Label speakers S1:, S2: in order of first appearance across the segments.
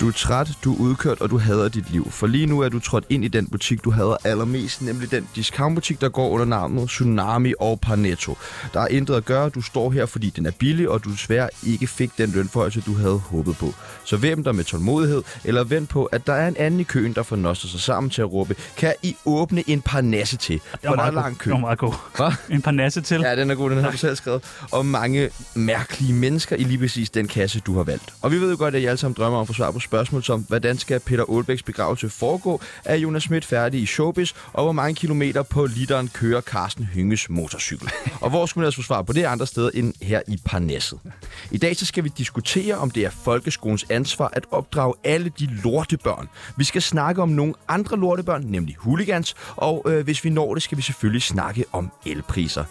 S1: Du er træt, du er udkørt, og du hader dit liv. For lige nu er du trådt ind i den butik, du hader allermest, nemlig den discountbutik, der går under navnet Tsunami og Parnetto. Der er intet at gøre, du står her, fordi den er billig, og du desværre ikke fik den lønforhøjelse, du havde håbet på. Så vem der med tålmodighed, eller vent på, at der er en anden i køen, der fornoster sig sammen til at råbe, kan I åbne en parnasse til? For der er lang kø.
S2: Det var meget god.
S1: Hva?
S2: En par nasse til.
S1: Ja, den er god, den har du selv skrevet. Og mange mærkelige mennesker i lige præcis den kasse, du har valgt. Og vi ved jo godt, at I alle sammen drømmer om at få svar på spørgsmål som, hvordan skal Peter Aalbæks begravelse foregå? Er Jonas Schmidt færdig i showbiz? Og hvor mange kilometer på literen kører Carsten Hynges motorcykel? Og hvor skulle man ellers få svar på det andre steder end her i Parnasset? I dag så skal vi diskutere, om det er folkeskolens ansvar at opdrage alle de lortebørn. Vi skal snakke om nogle andre lortebørn, nemlig hooligans. Og øh, hvis vi når det, skal vi selvfølgelig snakke om elpriser.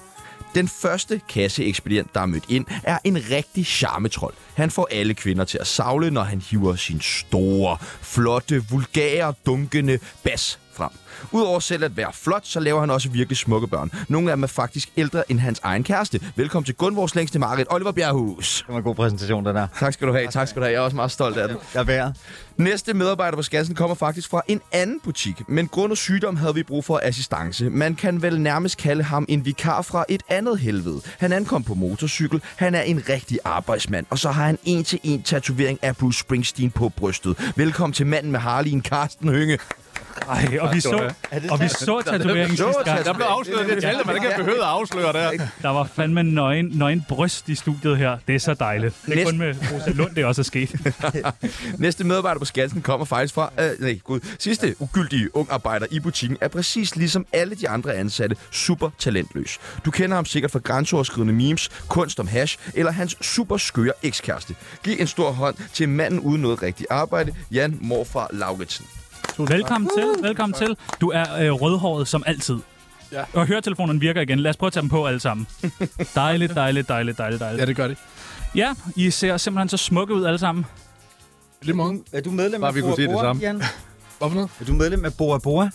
S1: Den første kasseekspedient, der er mødt ind, er en rigtig charmetrol. Han får alle kvinder til at savle, når han hiver sin store, flotte, vulgære, dunkende bas frem. Udover selv at være flot, så laver han også virkelig smukke børn. Nogle af dem er faktisk ældre end hans egen kæreste. Velkommen til Gunvors længste Marit, Oliver Bjerghus.
S3: Det var en god præsentation, den der.
S1: Tak skal du have, tak skal du have. Jeg er også meget stolt af den.
S3: Jeg bærer.
S1: Næste medarbejder på Skansen kommer faktisk fra en anden butik, men grund og sygdom havde vi brug for assistance. Man kan vel nærmest kalde ham en vikar fra et andet helvede. Han ankom på motorcykel, han er en rigtig arbejdsmand, og så har han en til en tatovering af Bruce Springsteen på brystet. Velkommen til manden med Harley'en, Carsten Hynge.
S2: Ej, og vi så, og vi så tatoveringen
S1: Så
S2: sidste gang.
S1: tatoveringen.
S4: Der blev afsløret det detalje, man ikke behøvede at afsløre der.
S2: Der var fandme nøgen, nøgen bryst i studiet her. Det er så dejligt. Det er
S1: Næste-
S2: kun med Rosa Lund, det også er sket.
S1: Næste medarbejder på Skansen kommer faktisk fra... Øh, nej, gud. Sidste ugyldige ung arbejder i butikken er præcis ligesom alle de andre ansatte super talentløs. Du kender ham sikkert fra grænseoverskridende memes, kunst om hash eller hans super skøre ekskæreste. Giv en stor hånd til manden uden noget rigtigt arbejde, Jan Morfar Lauritsen.
S2: Velkommen til, velkommen til. Du er øh, rødhåret som altid. Ja. Og høretelefonerne virker igen. Lad os prøve at tage dem på alle sammen. Dejligt, dejligt, dejligt, dejligt, dejligt.
S4: Ja, det gør det.
S2: Ja, I ser simpelthen så smukke ud alle sammen.
S4: Lidt morgen.
S3: Er du medlem
S4: Bare
S3: af
S4: vi kunne
S3: Bora
S4: sige det
S3: Bora,
S4: samme.
S3: Jan?
S4: Hvorfor noget?
S3: Er du medlem af Bora Bora?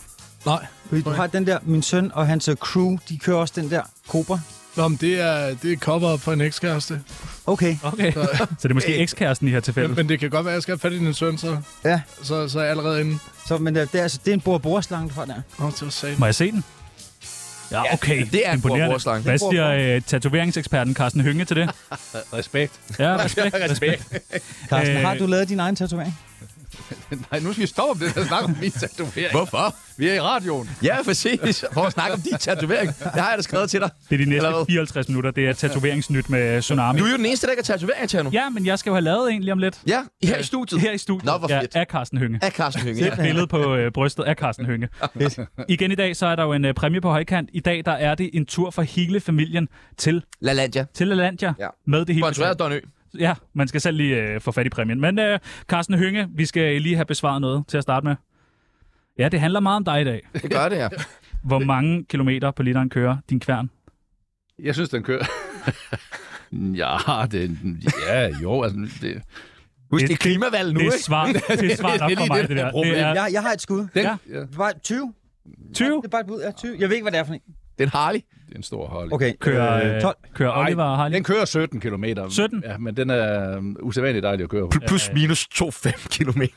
S4: Nej.
S3: Fordi du har den der, min søn og hans øh, crew, de kører også den der Cobra.
S4: Nå, men det er, det er cover på en ekskæreste.
S3: Okay.
S2: Okay. Så det er måske ekskæresten i her
S4: Men,
S2: tilfælde.
S4: men, det kan godt være, at jeg skal have fat i din søn, så,
S3: Ja,
S4: så, så er jeg allerede inde.
S3: så, men øh, det er, altså, det er en Bora Bora slange, du har der.
S4: Åh, det var sat.
S2: Må jeg se den? Ja, okay.
S1: det er en
S2: Imponerende.
S1: borgerslange.
S2: Hvad
S3: Det er en
S2: siger øh, tatoveringseksperten Carsten Hynge til det?
S4: Respekt.
S2: Ja, respekt. respekt.
S3: Carsten,
S2: Øh.
S3: øh... har du lavet din egen tatovering?
S4: Nej, nu skal vi stoppe det der snak om min tatovering. Hvorfor? Vi er i radioen.
S1: Ja, præcis. For at snakke om din tatovering. Det har jeg da skrevet til dig.
S2: Det er de næste
S1: Eller hvad?
S2: 54 minutter. Det er tatoveringsnyt med øh, Tsunami.
S1: Du er jo den eneste, der ikke har tatovering til nu.
S2: Ja, men jeg skal jo have lavet en lige om lidt.
S1: Ja, her i studiet.
S2: Her i studiet.
S1: Nå, hvor
S2: ja,
S1: fedt.
S2: af Carsten Hynge.
S1: Af Carsten Hynge.
S2: Et billede på øh, brystet af Carsten Hynge. Igen i dag, så er der jo en øh, præmie på højkant. I dag, der er det en tur for hele familien til,
S1: La Landia.
S2: til Lalandia
S1: Ja.
S2: med det hele.
S1: Sponsoreret af Don Ø.
S2: Ja, man skal selv lige øh, få fat i præmien. Men øh, Carsten Hynge, vi skal lige have besvaret noget til at starte med. Ja, det handler meget om dig i dag.
S1: Det gør det, ja.
S2: Hvor mange kilometer på literen kører din kværn?
S5: Jeg synes, den kører. ja, det, ja, jo, altså, det,
S1: Husk,
S2: Det-
S1: det er klimavalg nu,
S2: det,
S1: ikke?
S2: er svar, det er svar
S5: det er
S2: nok
S5: lige
S2: for mig,
S5: det,
S2: det
S5: der
S2: der.
S5: er
S2: Det
S5: problemet.
S2: er
S3: Jeg, jeg har et skud.
S5: den,
S2: Ja.
S5: ja. Ja,
S3: Det var 20.
S2: 20
S3: Det er bare et bud. Ja, 20. Jeg ved ikke, hvad det er for en.
S1: Det er en Harley.
S5: det er en stor hold.
S3: Okay.
S2: kører,
S3: Øh,
S2: øh,
S3: 12.
S2: kører
S5: Ej,
S2: Oliver og Harley.
S5: Den kører 17 km.
S2: 17?
S5: Ja, men den er um, usædvanligt dejlig at køre på.
S1: Plus minus 2,5 kilometer.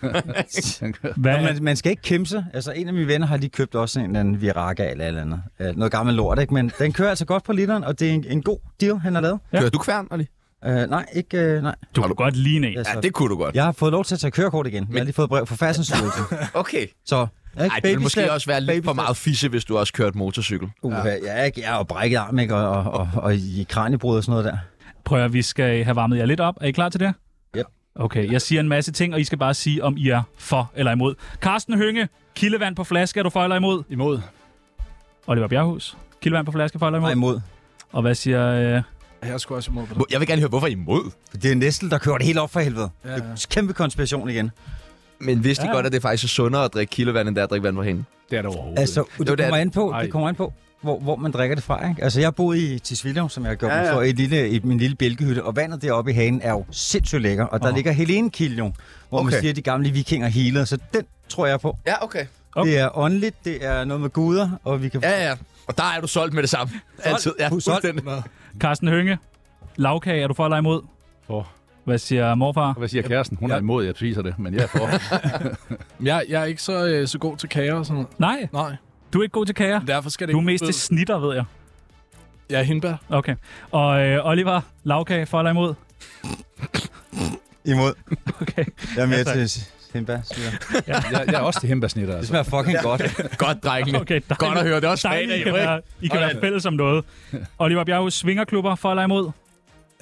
S5: Den kører-
S2: Hvad,
S3: Og man, man skal ikke kæmpe sig. Altså, en af mine venner har lige købt også en eller anden Viraga eller et eller andet. Øh, noget gammel lort, ikke? Men den kører altså godt på literen, og det er en, en god deal, han har lavet.
S2: Ja.
S1: Kører du kværn, Ali?
S3: Øh, nej, ikke... Øh, nej.
S2: du kunne godt ligne en.
S3: Altså,
S1: Ja, det kunne du godt.
S3: Jeg har fået lov til at tage kørekort igen. Men... Jeg har lige fået brev fra Færdselsstyrelsen.
S1: Okay.
S3: Så... Ikke?
S1: Ej, det ville måske
S3: Babystep,
S1: også være lidt for
S3: babystep.
S1: meget fisse, hvis du også kørte motorcykel.
S3: Uha, ja, ikke? Jeg er jo brækket arm, ikke? Og, og, og, og i kraniebrud og sådan noget der.
S2: Prøv at vi skal have varmet jer lidt op. Er I klar til det?
S3: Yep.
S2: Okay, jeg siger en masse ting, og I skal bare sige, om I er for eller imod. Carsten Hynge, kildevand på flaske, er du for eller imod?
S5: Imod.
S2: Oliver Bjerghus, kildevand på flaske, for eller imod?
S3: Nej, imod.
S2: Og hvad siger... Øh,
S4: Jeg skulle også imod på det.
S1: Må- Jeg vil gerne høre, hvorfor I er imod.
S3: Det er Nestle, der kører det helt op for helvede.
S4: Ja,
S3: Det er en kæmpe konspiration igen.
S1: Men vidste I
S2: Ja.
S1: godt, at det faktisk er sundere at drikke kildevand, end det er at drikke vand på hende?
S5: Det er det overhovedet.
S3: Altså, det,
S1: det er
S3: kommer
S1: det.
S3: an på,
S5: Ej.
S3: det kommer an på, hvor, hvor man drikker det fra. Ikke? Altså, jeg boede i Tisvilde, som jeg har gjort ja, ja. for, i, et lille, i min lille bjælkehytte, og vandet deroppe i hagen er jo sindssygt lækker. Og der
S2: Åh.
S3: ligger Helenekilde jo, hvor okay.
S1: Okay.
S3: man siger, at de gamle vikinger healede, så den tror jeg på.
S1: Ja, okay.
S2: Okay.
S3: Okay. Det er åndeligt, det er noget med guder, og vi kan...
S1: Ja, ja. Og der er du solgt med det samme. Altid. Ja,
S3: Solgt.
S1: fuldstændig.
S2: Carsten Hynge, lavkage, er du for eller imod?
S5: For.
S2: Hvad siger morfar?
S5: Hvad siger kæresten? Hun er
S6: Ja.
S5: imod, jeg spiser det, men jeg er for.
S6: Jeg, jeg er ikke så, øh, så god til kager og sådan noget.
S2: Nej,
S6: Nej,
S2: du er ikke god til kager.
S6: derfor skal det
S2: Du er
S6: ikke
S2: mest til snitter, ved jeg.
S6: Jeg er hindbær.
S2: Okay. Og øh, Oliver, lavkage for eller imod?
S3: Imod.
S2: Okay.
S3: Jeg er mere
S2: tak.
S3: til Simba. siger jeg.
S5: Jeg, jeg er også til hembærsnitter,
S3: Det
S5: altså.
S3: smager fucking godt.
S4: Godt, drengene.
S2: Okay, dejligt.
S4: Godt at høre. Det er også fredag,
S2: Dejligt, I
S4: jo,
S2: kan
S4: ikke?
S2: være, I kan være
S4: Sådan.
S2: fælles om noget. Oliver Bjerg, svingerklubber for eller imod?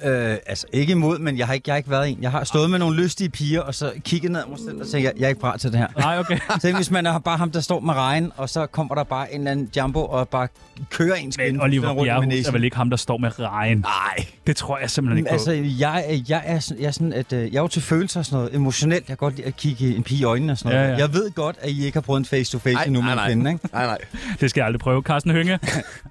S3: Øh, altså ikke imod, men jeg har ikke, jeg har ikke været en. Jeg har stået med nogle lystige piger, og så kigget ned og selv og tænkt, jeg, jeg er ikke parat til det her.
S2: Nej, okay.
S3: Tænk, hvis man er bare ham, der står med regn, og så kommer der bare en eller anden jumbo og bare kører en
S2: Men
S3: skin
S2: Oliver Bjerg er vel ikke ham, der står med regn.
S4: Nej.
S2: Det tror jeg simpelthen ikke på.
S3: Altså, jeg, er- jeg, er, sådan- jeg, er sådan, at, øh, jeg er jo til følelser og sådan noget. Emotionelt, jeg kan godt lide at kigge en pige i øjnene og sådan noget.
S2: Ja, ja.
S3: Jeg ved godt, at I ikke har prøvet en face-to-face
S4: Ej,
S3: endnu med
S4: nej,
S3: en
S4: nej.
S3: kvinde, ikke?
S4: Nej, nej.
S2: Det skal jeg aldrig prøve. Carsten Hønge,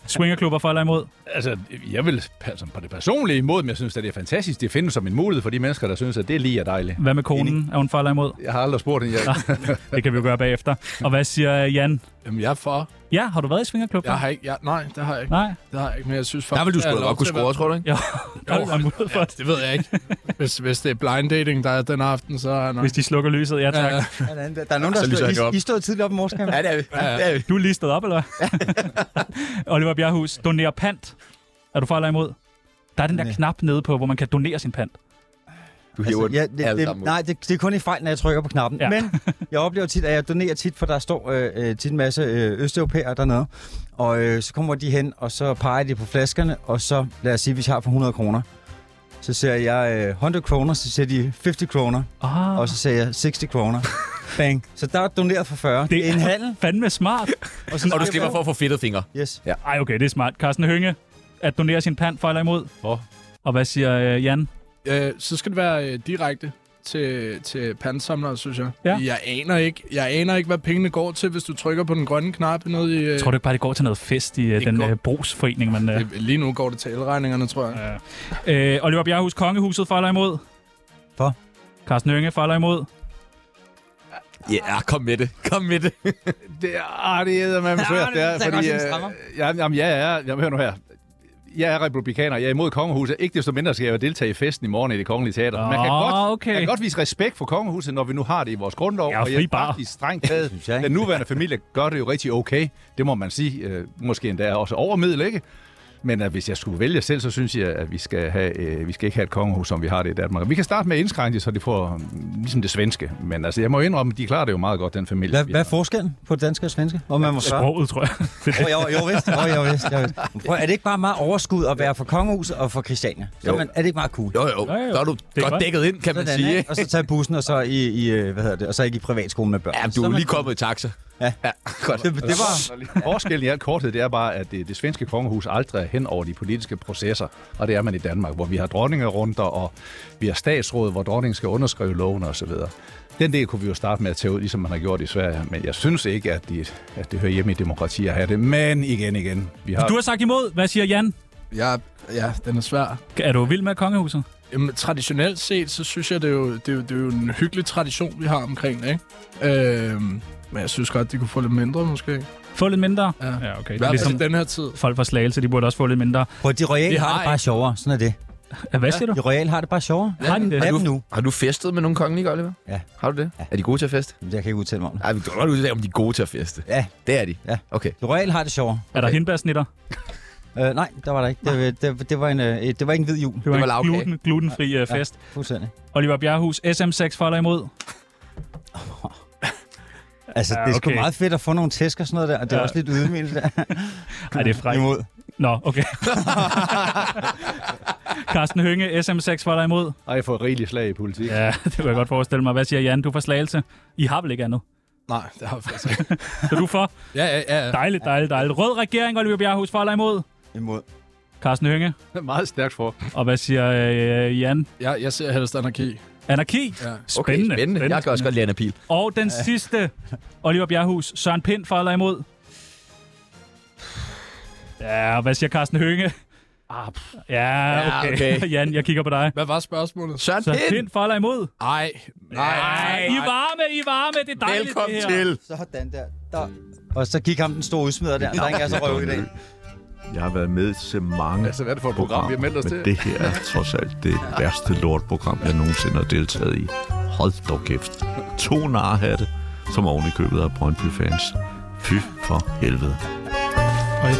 S2: swingerklubber for eller imod?
S5: Altså, jeg vil altså, på det personlige imod, men jeg synes, at det er fantastisk. Det findes som en mulighed for de mennesker, der synes, at det lige er dejligt.
S2: Hvad med konen? Er hun for eller imod?
S5: Jeg har aldrig spurgt hende. Jeg,
S2: Det kan vi jo gøre bagefter. Og hvad siger Jan?
S6: Jamen, jeg er for.
S2: Ja, har du været i swingerklub?
S6: Jeg har ikke, jeg, nej, det har jeg ikke.
S2: Nej?
S6: Det har jeg ikke, men jeg synes
S1: Der
S6: faktisk...
S1: vil du
S6: jeg
S1: sgu
S6: er
S1: da
S6: lov
S1: godt kunne
S6: til at
S1: score,
S6: være-
S1: tror du ikke?
S2: Jo, der er der mulighed for, at
S6: Det ved jeg ikke. Hvis, hvis det er blind dating, der er den aften, så er nok...
S2: hvis de slukker lyset. Ja, tak.
S6: Ja, ja.
S3: Hvordan? Der er nogen, der
S1: Så lyser
S3: stod,
S1: jeg ikke op.
S3: I, I stod tidligt op i morges, kan
S1: Ja, det er vi. Ja, det er vi.
S2: Du er lige stået op, eller hvad? Oliver Bjerghus, doner pant. Er du for eller imod? Der er den der
S3: Nej.
S2: knap nede på, hvor man kan donere sin pant.
S1: Du hiver
S3: Altså, ja, det,
S1: alle
S3: det,
S1: sammen ud.
S3: nej, det, det er kun i fejl, når jeg trykker på knappen.
S2: Ja.
S3: Ja. Men jeg oplever tit, at jeg donerer tit, for der står øh, øh, tit en masse øh, østeuropæere dernede. Og øh, så kommer de hen, og så peger de på flaskerne, og så lad os sige, hvis jeg har for 100 kroner. Så siger jeg øh, 100 kroner, så siger de 50 kroner,
S2: Ah,
S3: og så siger jeg 60 kroner. Bang. Så der er doneret for 40. Det er en handel.
S2: fandme smart.
S3: Og, så
S4: Og du slipper for at få fedtede fingre.
S3: Yes.
S2: Ej, okay, det er smart. Carsten Hønge, at donere sin pant for eller imod?
S5: For.
S2: Og hvad siger øh, Jan?
S6: Øh, så skal det være øh, direkte til, til pansamlere, synes jeg.
S2: Ja.
S6: Jeg, aner ikke, jeg aner ikke, hvad pengene går til, hvis du trykker på den grønne knap nede i... Øh,
S2: Tror du ikke bare, det går til noget fest i øh,
S6: det
S2: den
S6: går-
S2: øh, brugsforening, man... Øh,
S6: det... Lige nu går det til elregningerne, tror jeg.
S2: øh, Oliver Bjerghus, kongehuset for eller imod?
S3: For.
S2: Carsten Hønge for eller imod?
S4: Ja, kom med det. Kom med det.
S5: det, ah, det er man svært, det er, fordi... Øh, ja, jamen, ja, ja, jamen, hør nu her. Jeg er republikaner, jeg er imod kongehuset. Ikke desto mindre skal jeg jo deltage i festen i morgen i det kongelige teater. Man kan,
S2: Åh,
S5: godt,
S2: okay.
S5: man kan godt vise respekt for kongehuset, når vi nu har det i vores grundlov.
S2: Ja,
S5: og
S2: fri
S5: jeg
S2: bar.
S5: faktisk strengt taget.
S3: Synes jeg, ikke?
S5: Den nuværende familie gør det jo rigtig okay. Det må man sige. Øh, måske endda også overmiddel, ikke? Men at hvis jeg skulle vælge selv, så synes jeg, at vi skal, have, øh, vi skal ikke have et kongehus, som vi har det i Danmark. Vi kan starte med at indskrænke det, så de får mm, ligesom det svenske. Men altså, jeg må indrømme, de klarer det jo meget godt, den familie.
S3: Hvad,
S5: vi
S3: hvad er
S5: har.
S3: forskellen på dansk og svensk? Om man må svare?
S2: Sproget, tror jeg.
S3: Åh, jo, jo, vist. Oh, jo, vist, jo, vist. Prøv, er det ikke bare meget overskud at være for kongehuset og for Christiania? Så
S1: Jo.
S3: man, er det ikke meget cool?
S1: Jo, jo.
S2: jo.
S1: Så er du
S2: er
S1: godt
S2: godt.
S1: dækket ind, kan man
S3: Sådan,
S1: sige.
S3: ikke? Og så tage bussen, og så, i, i, øh, hvad hedder det, og så ikke i privatskolen med børn.
S1: Ja,
S3: Så
S1: du
S3: er
S1: er
S3: man-
S1: lige kommet i taxa.
S3: Ja.
S1: ja godt.
S3: Det, det var...
S5: Forskellen i al korthed, det er bare, at det, det svenske kongehus aldrig er hen over de politiske processer, og det er man i Danmark, hvor vi har dronningerunder, og vi har statsråd, hvor dronningen skal underskrive loven osv. Den del kunne vi jo starte med at tage ud, ligesom man har gjort i Sverige, men jeg synes ikke, at det, at det hører hjemme i demokrati at have det. Men igen, igen, vi har...
S2: Du har sagt imod. Hvad siger Jan?
S6: Ja, ja den er svær.
S2: Er du vild med kongehuset?
S6: Jamen, traditionelt set, så synes jeg, det er jo, det er jo, det er jo en hyggelig tradition, vi har omkring det, ikke? Øhm, men jeg synes godt, det kunne få lidt mindre, måske. I
S2: Få lidt mindre?
S6: Ja.
S2: ja okay. Det er
S6: hvert fald
S2: ligesom
S6: i den her tid.
S2: folk fra Slagelse, de burde også få lidt mindre.
S3: Prøv, de royale
S6: Det
S3: har
S6: har
S3: det
S6: jeg.
S3: bare sjovere. Sådan er det.
S2: Ja, Hvad siger du?
S3: De royale har det bare sjovere.
S2: Har de det?
S3: Hvad
S1: du-
S3: nu?
S1: Har du festet med nogle kongelige, Oliver?
S3: Ja.
S1: Har du det?
S3: Ja.
S1: Er de gode til at feste?
S3: Jeg kan ikke udtale mig om det.
S1: Ej, vi kan godt udtale, om de er gode til at feste.
S3: Ja,
S1: Det er de.
S3: Ja.
S1: Okay.
S3: de royale har det sjovere.
S2: Er der hindbærsnitter?
S3: Øh, nej, der var der ikke. Det, det, det, var en, øh, det var ikke en hvid jul.
S2: Det var,
S1: var
S2: en
S1: lavkage.
S2: gluten, glutenfri uh, fest.
S3: Fuldstændig.
S2: Oliver Bjerghus, SM6 for eller imod?
S3: Altså,
S2: Ja,
S3: det er sgu
S2: okay.
S3: meget fedt at få nogle tæsk og sådan noget der, og det er
S2: Ja.
S3: også lidt ydmygende der.
S2: Ej, det er frækt.
S3: Imod.
S2: Nå, okay. Carsten Hønge, SM6 for eller imod?
S5: Ej, jeg får rigeligt slag i politik. Ja.
S2: Ja, det kan jeg godt forestille mig. Hvad siger Jan? Du er fra Slagelse. I har vel ikke andet?
S6: Nej, det har jeg faktisk ikke.
S2: Så du er for?
S6: Ja, ja, ja.
S2: Dejligt, dejligt, dejligt. Rød regering, Oliver Bjerghus for eller imod?
S3: Imod.
S2: Carsten Hønge.
S5: Meget stærkt for.
S2: Og hvad siger øh, Jan?
S6: Jeg, jeg ser helst anarki.
S2: Anarki?
S6: Ja.
S1: Okay, spændende. spændende. Jeg kan også godt lide Anna Pil.
S2: Og den sidste, Oliver Bjerghus, Søren Pind for eller imod? Ja, og hvad siger Carsten Hønge?
S5: Ah,
S2: Ja,
S1: Ja,
S2: okay.
S1: okay.
S2: Jan, jeg kigger på dig.
S6: Hvad var spørgsmålet?
S1: Søren
S2: Så
S1: Pind!
S2: Pind for eller imod?
S6: Ej, nej.
S2: I er varme, I er varme. Det er dejligt,
S1: Velkommen
S2: det her.
S1: til.
S3: Sådan der. der. Og så gik ham den store udsmider der. Der er ikke altså røv i dag.
S7: Jeg har været med til mange
S4: Altså, hvad er det for et program, vi
S7: programmer,
S4: har meldt os til?
S7: men det her er trods alt det værste lortprogram, jeg nogensinde har deltaget i. Hold dog kæft. To narhatte, som oven i købet af Brøndby-fans. Fy for helvede.
S2: Øj,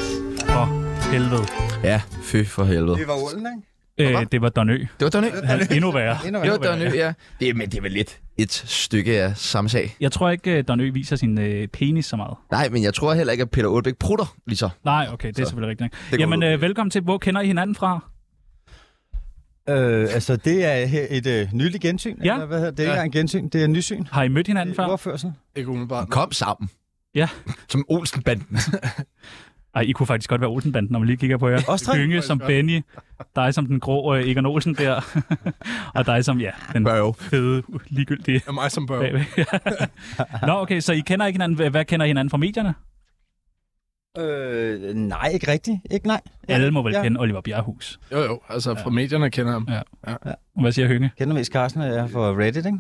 S2: for helvede.
S1: Ja, fy for helvede.
S3: Det var Olden, ikke?
S2: Øh, det var Don Ø.
S1: Det var Donny.
S2: Han er endnu værre.
S3: Endnu
S1: Jo,
S3: værre.
S1: Donny, ja. Det, er- men det er vel lidt et stykke af samme sag.
S2: Jeg tror ikke, Don Ø viser sin øh, penis så meget.
S1: Nej, men jeg tror heller ikke, at Peter Olbæk prutter lige så.
S2: Nej, okay, det er selvfølgelig rigtigt.
S1: går
S2: nok. Jamen,
S1: ud.
S2: øh, velkommen til. Hvor kender I hinanden fra?
S3: Øh, altså, det er her et øh, nyligt gensyn.
S2: Ja.
S3: Eller, hvad hedder det? Det er
S6: Ja.
S3: ikke engang gensyn, det er nysyn.
S2: Har I mødt
S1: Øh,
S2: hinanden
S3: Det er
S2: før?
S3: ordførsel.
S6: Ikke umiddelbart.
S1: Kom sammen.
S2: Ja.
S1: Som Olsenbanden.
S2: Ej, I kunne faktisk godt være Olsenbanden, når man lige kigger på jer.
S3: Os tre?
S2: Gynge som Benny, dig som den grå øh, Egon Olsen der, og dig som, ja, den
S1: Børge.
S2: fede, ligegyldige
S6: Ja, mig som børn.
S2: bagved. Nå, okay, så I kender ikke hinanden. Hvad- Hvad kender I hinanden fra medierne?
S3: Øh, nej, ikke rigtigt. Ikke nej.
S2: Alle må vel
S3: Ja.
S2: kende Oliver Bjerrehus.
S6: Jo, jo. Altså, fra medierne kender jeg ham.
S2: Hvad siger Hønge?
S3: Kender mest Carsten, og jeg er fra Reddit, ikke?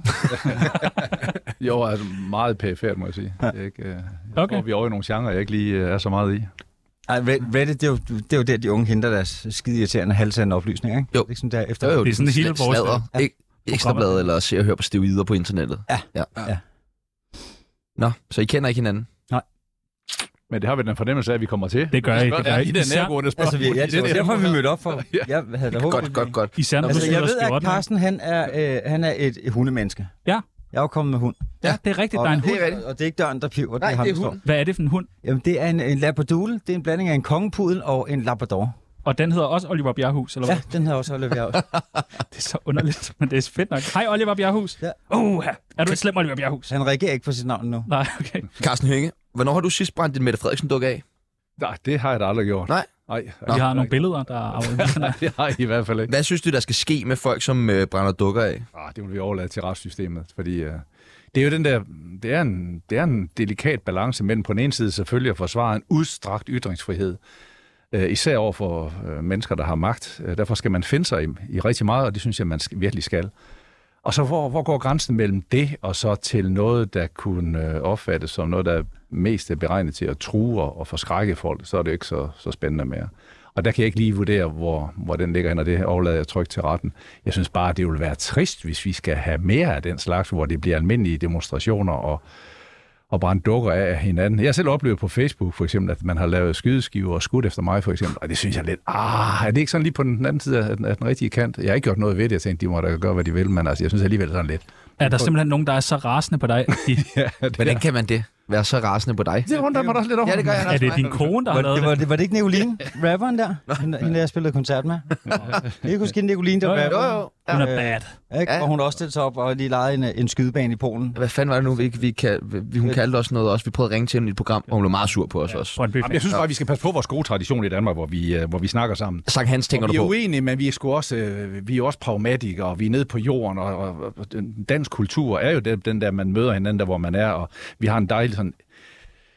S5: Jo, altså meget perifært, må jeg sige. Det er ikke, øh, jeg
S2: Okay.
S5: tror, vi er over i nogle genrer, jeg ikke lige øh, er så meget i.
S3: Ej, Red- Reddit, det er, jo, det er jo der, de unge henter deres skide irriterende halvsande oplysninger, ikke?
S1: Jo.
S3: Det er sådan der efter.
S1: Jo, jo,
S2: Det er sådan hele vores-
S1: sladder.
S3: Ja.
S1: Ik- Ekstrabladet eller se og høre på steroider på internettet.
S3: Ja.
S1: ja.
S3: Ja.
S1: Nå, så I kender ikke hinanden?
S5: Men det har vi den fornemmelse af, at vi kommer til.
S2: Det gør I. Det gør I.
S4: Ja, i den
S2: Især,
S4: nærgående spørgsmål.
S3: Altså, vi, jeg, det var derfor, vi mødte op for.
S4: Ja.
S3: Jeg havde da håbet,
S1: Godt,
S3: vi-
S1: godt, godt.
S2: især når du
S3: Altså, jeg
S2: sidder
S3: ved, at
S2: skjorten.
S3: Carsten, han er, øh, han er et, et hundemenneske.
S2: Ja.
S3: Jeg er jo kommet med hund.
S2: Ja, det er rigtigt. Der er en
S3: det
S2: hund.
S3: er rigtigt. Og det er ikke døren, der piver.
S1: Nej,
S3: det er, ham,
S1: det er
S3: der står.
S1: hunden.
S2: Hvad er det for en hund?
S3: Jamen, det er en, en labradoodle. Det er en blanding af en kongepudel og en labrador.
S2: Og den hedder også Oliver Bjerrehus, eller hvad?
S3: Ja, den her også Oliver Bjerg.
S2: Det er så underligt, men det er fedt nok. Hej Oliver Bjerrehus.
S3: Ja.
S2: Uh, er du et slem Oliver Bjerrehus?
S3: Han reagerer ikke på sit navn nu.
S2: Nej, okay.
S1: Carsten Hønge, hvornår har du sidst brændt din Mette Frederiksen-dukke af?
S5: Nej, det har jeg da aldrig gjort.
S1: Nej.
S5: Nej,
S2: Vi har nogle billeder, der er afvigende.
S5: Nej, det har I i hvert fald ikke.
S1: Hvad synes du, der skal ske med folk, som øh, brænder dukker af?
S5: Ah, det vil vi overlade til retssystemet, fordi øh, det er jo den der, det er, en, det er en delikat balance mellem på den ene side selvfølgelig at forsvare en udstrakt ytringsfrihed, øh, især over for øh, mennesker, der har magt. Øh, derfor skal man finde sig i, i rigtig meget, og det synes jeg, man skal, virkelig skal. Og så hvor, hvor går grænsen mellem det og så til noget, der kunne øh, opfattes som noget, der mest er beregnet til at true og, og forskrække folk, så er det jo ikke så, så spændende mere. Og der kan jeg ikke lige vurdere, hvor, hvor den ligger hen, og det overlader jeg trygt til retten. Jeg synes bare, det ville være trist, hvis vi skal have mere af den slags, hvor det bliver almindelige demonstrationer og, og brænde dukker af hinanden. Jeg har selv oplevet på Facebook for eksempel, at man har lavet skydeskiver og skudt efter mig for eksempel, og det synes jeg lidt, ah, er det ikke sådan lige på den anden side af den, af den rigtige kant? Jeg har ikke gjort noget ved det, jeg tænkte, de må da gøre, hvad de vil, men altså, jeg synes alligevel sådan lidt.
S2: Er der simpelthen nogen, der er så rasende på dig? at De,
S1: Hvordan kan man det? Være så rasende på dig?
S5: Det undrer mig da også lidt over.
S1: Ja, det gør jeg
S2: er
S1: også
S2: det
S1: mig.
S2: din kone, der har
S3: Var det,
S2: lavet
S3: var,
S2: det?
S3: det, var det ikke Nicoline, rapperen der? Hende, hende, jeg spillede koncert med. Jeg kan ikke huske, at Nicoline, der
S2: Jo,
S3: var
S2: jo.
S1: Jo,
S3: rapper.
S1: jo.
S2: Hun
S1: Ja.
S2: er bad.
S3: Ikke?
S1: Ja.
S3: Og hun har også stillet sig op og lige lejet en, øh, en skydebane i Polen.
S1: Hvad fanden var det nu, vi, ikke- vi, kan, vi hun kaldte os noget også? Vi prøvede at ringe til hende i et program, og hun blev meget sur på os også.
S2: Brøndby
S5: Jamen, jeg synes bare, at vi skal passe på vores gode tradition i Danmark, hvor vi, øh, hvor vi snakker sammen.
S1: Sankt Hans tænker
S5: og
S1: du
S5: vi er
S1: på.
S5: uenige, men vi er, sgu også, øh, vi er jo også pragmatikere, og vi er nede på jorden, og, og, og den- dansk kultur er jo den, den der, man møder hinanden der, hvor man er, og vi har en dejlig sådan,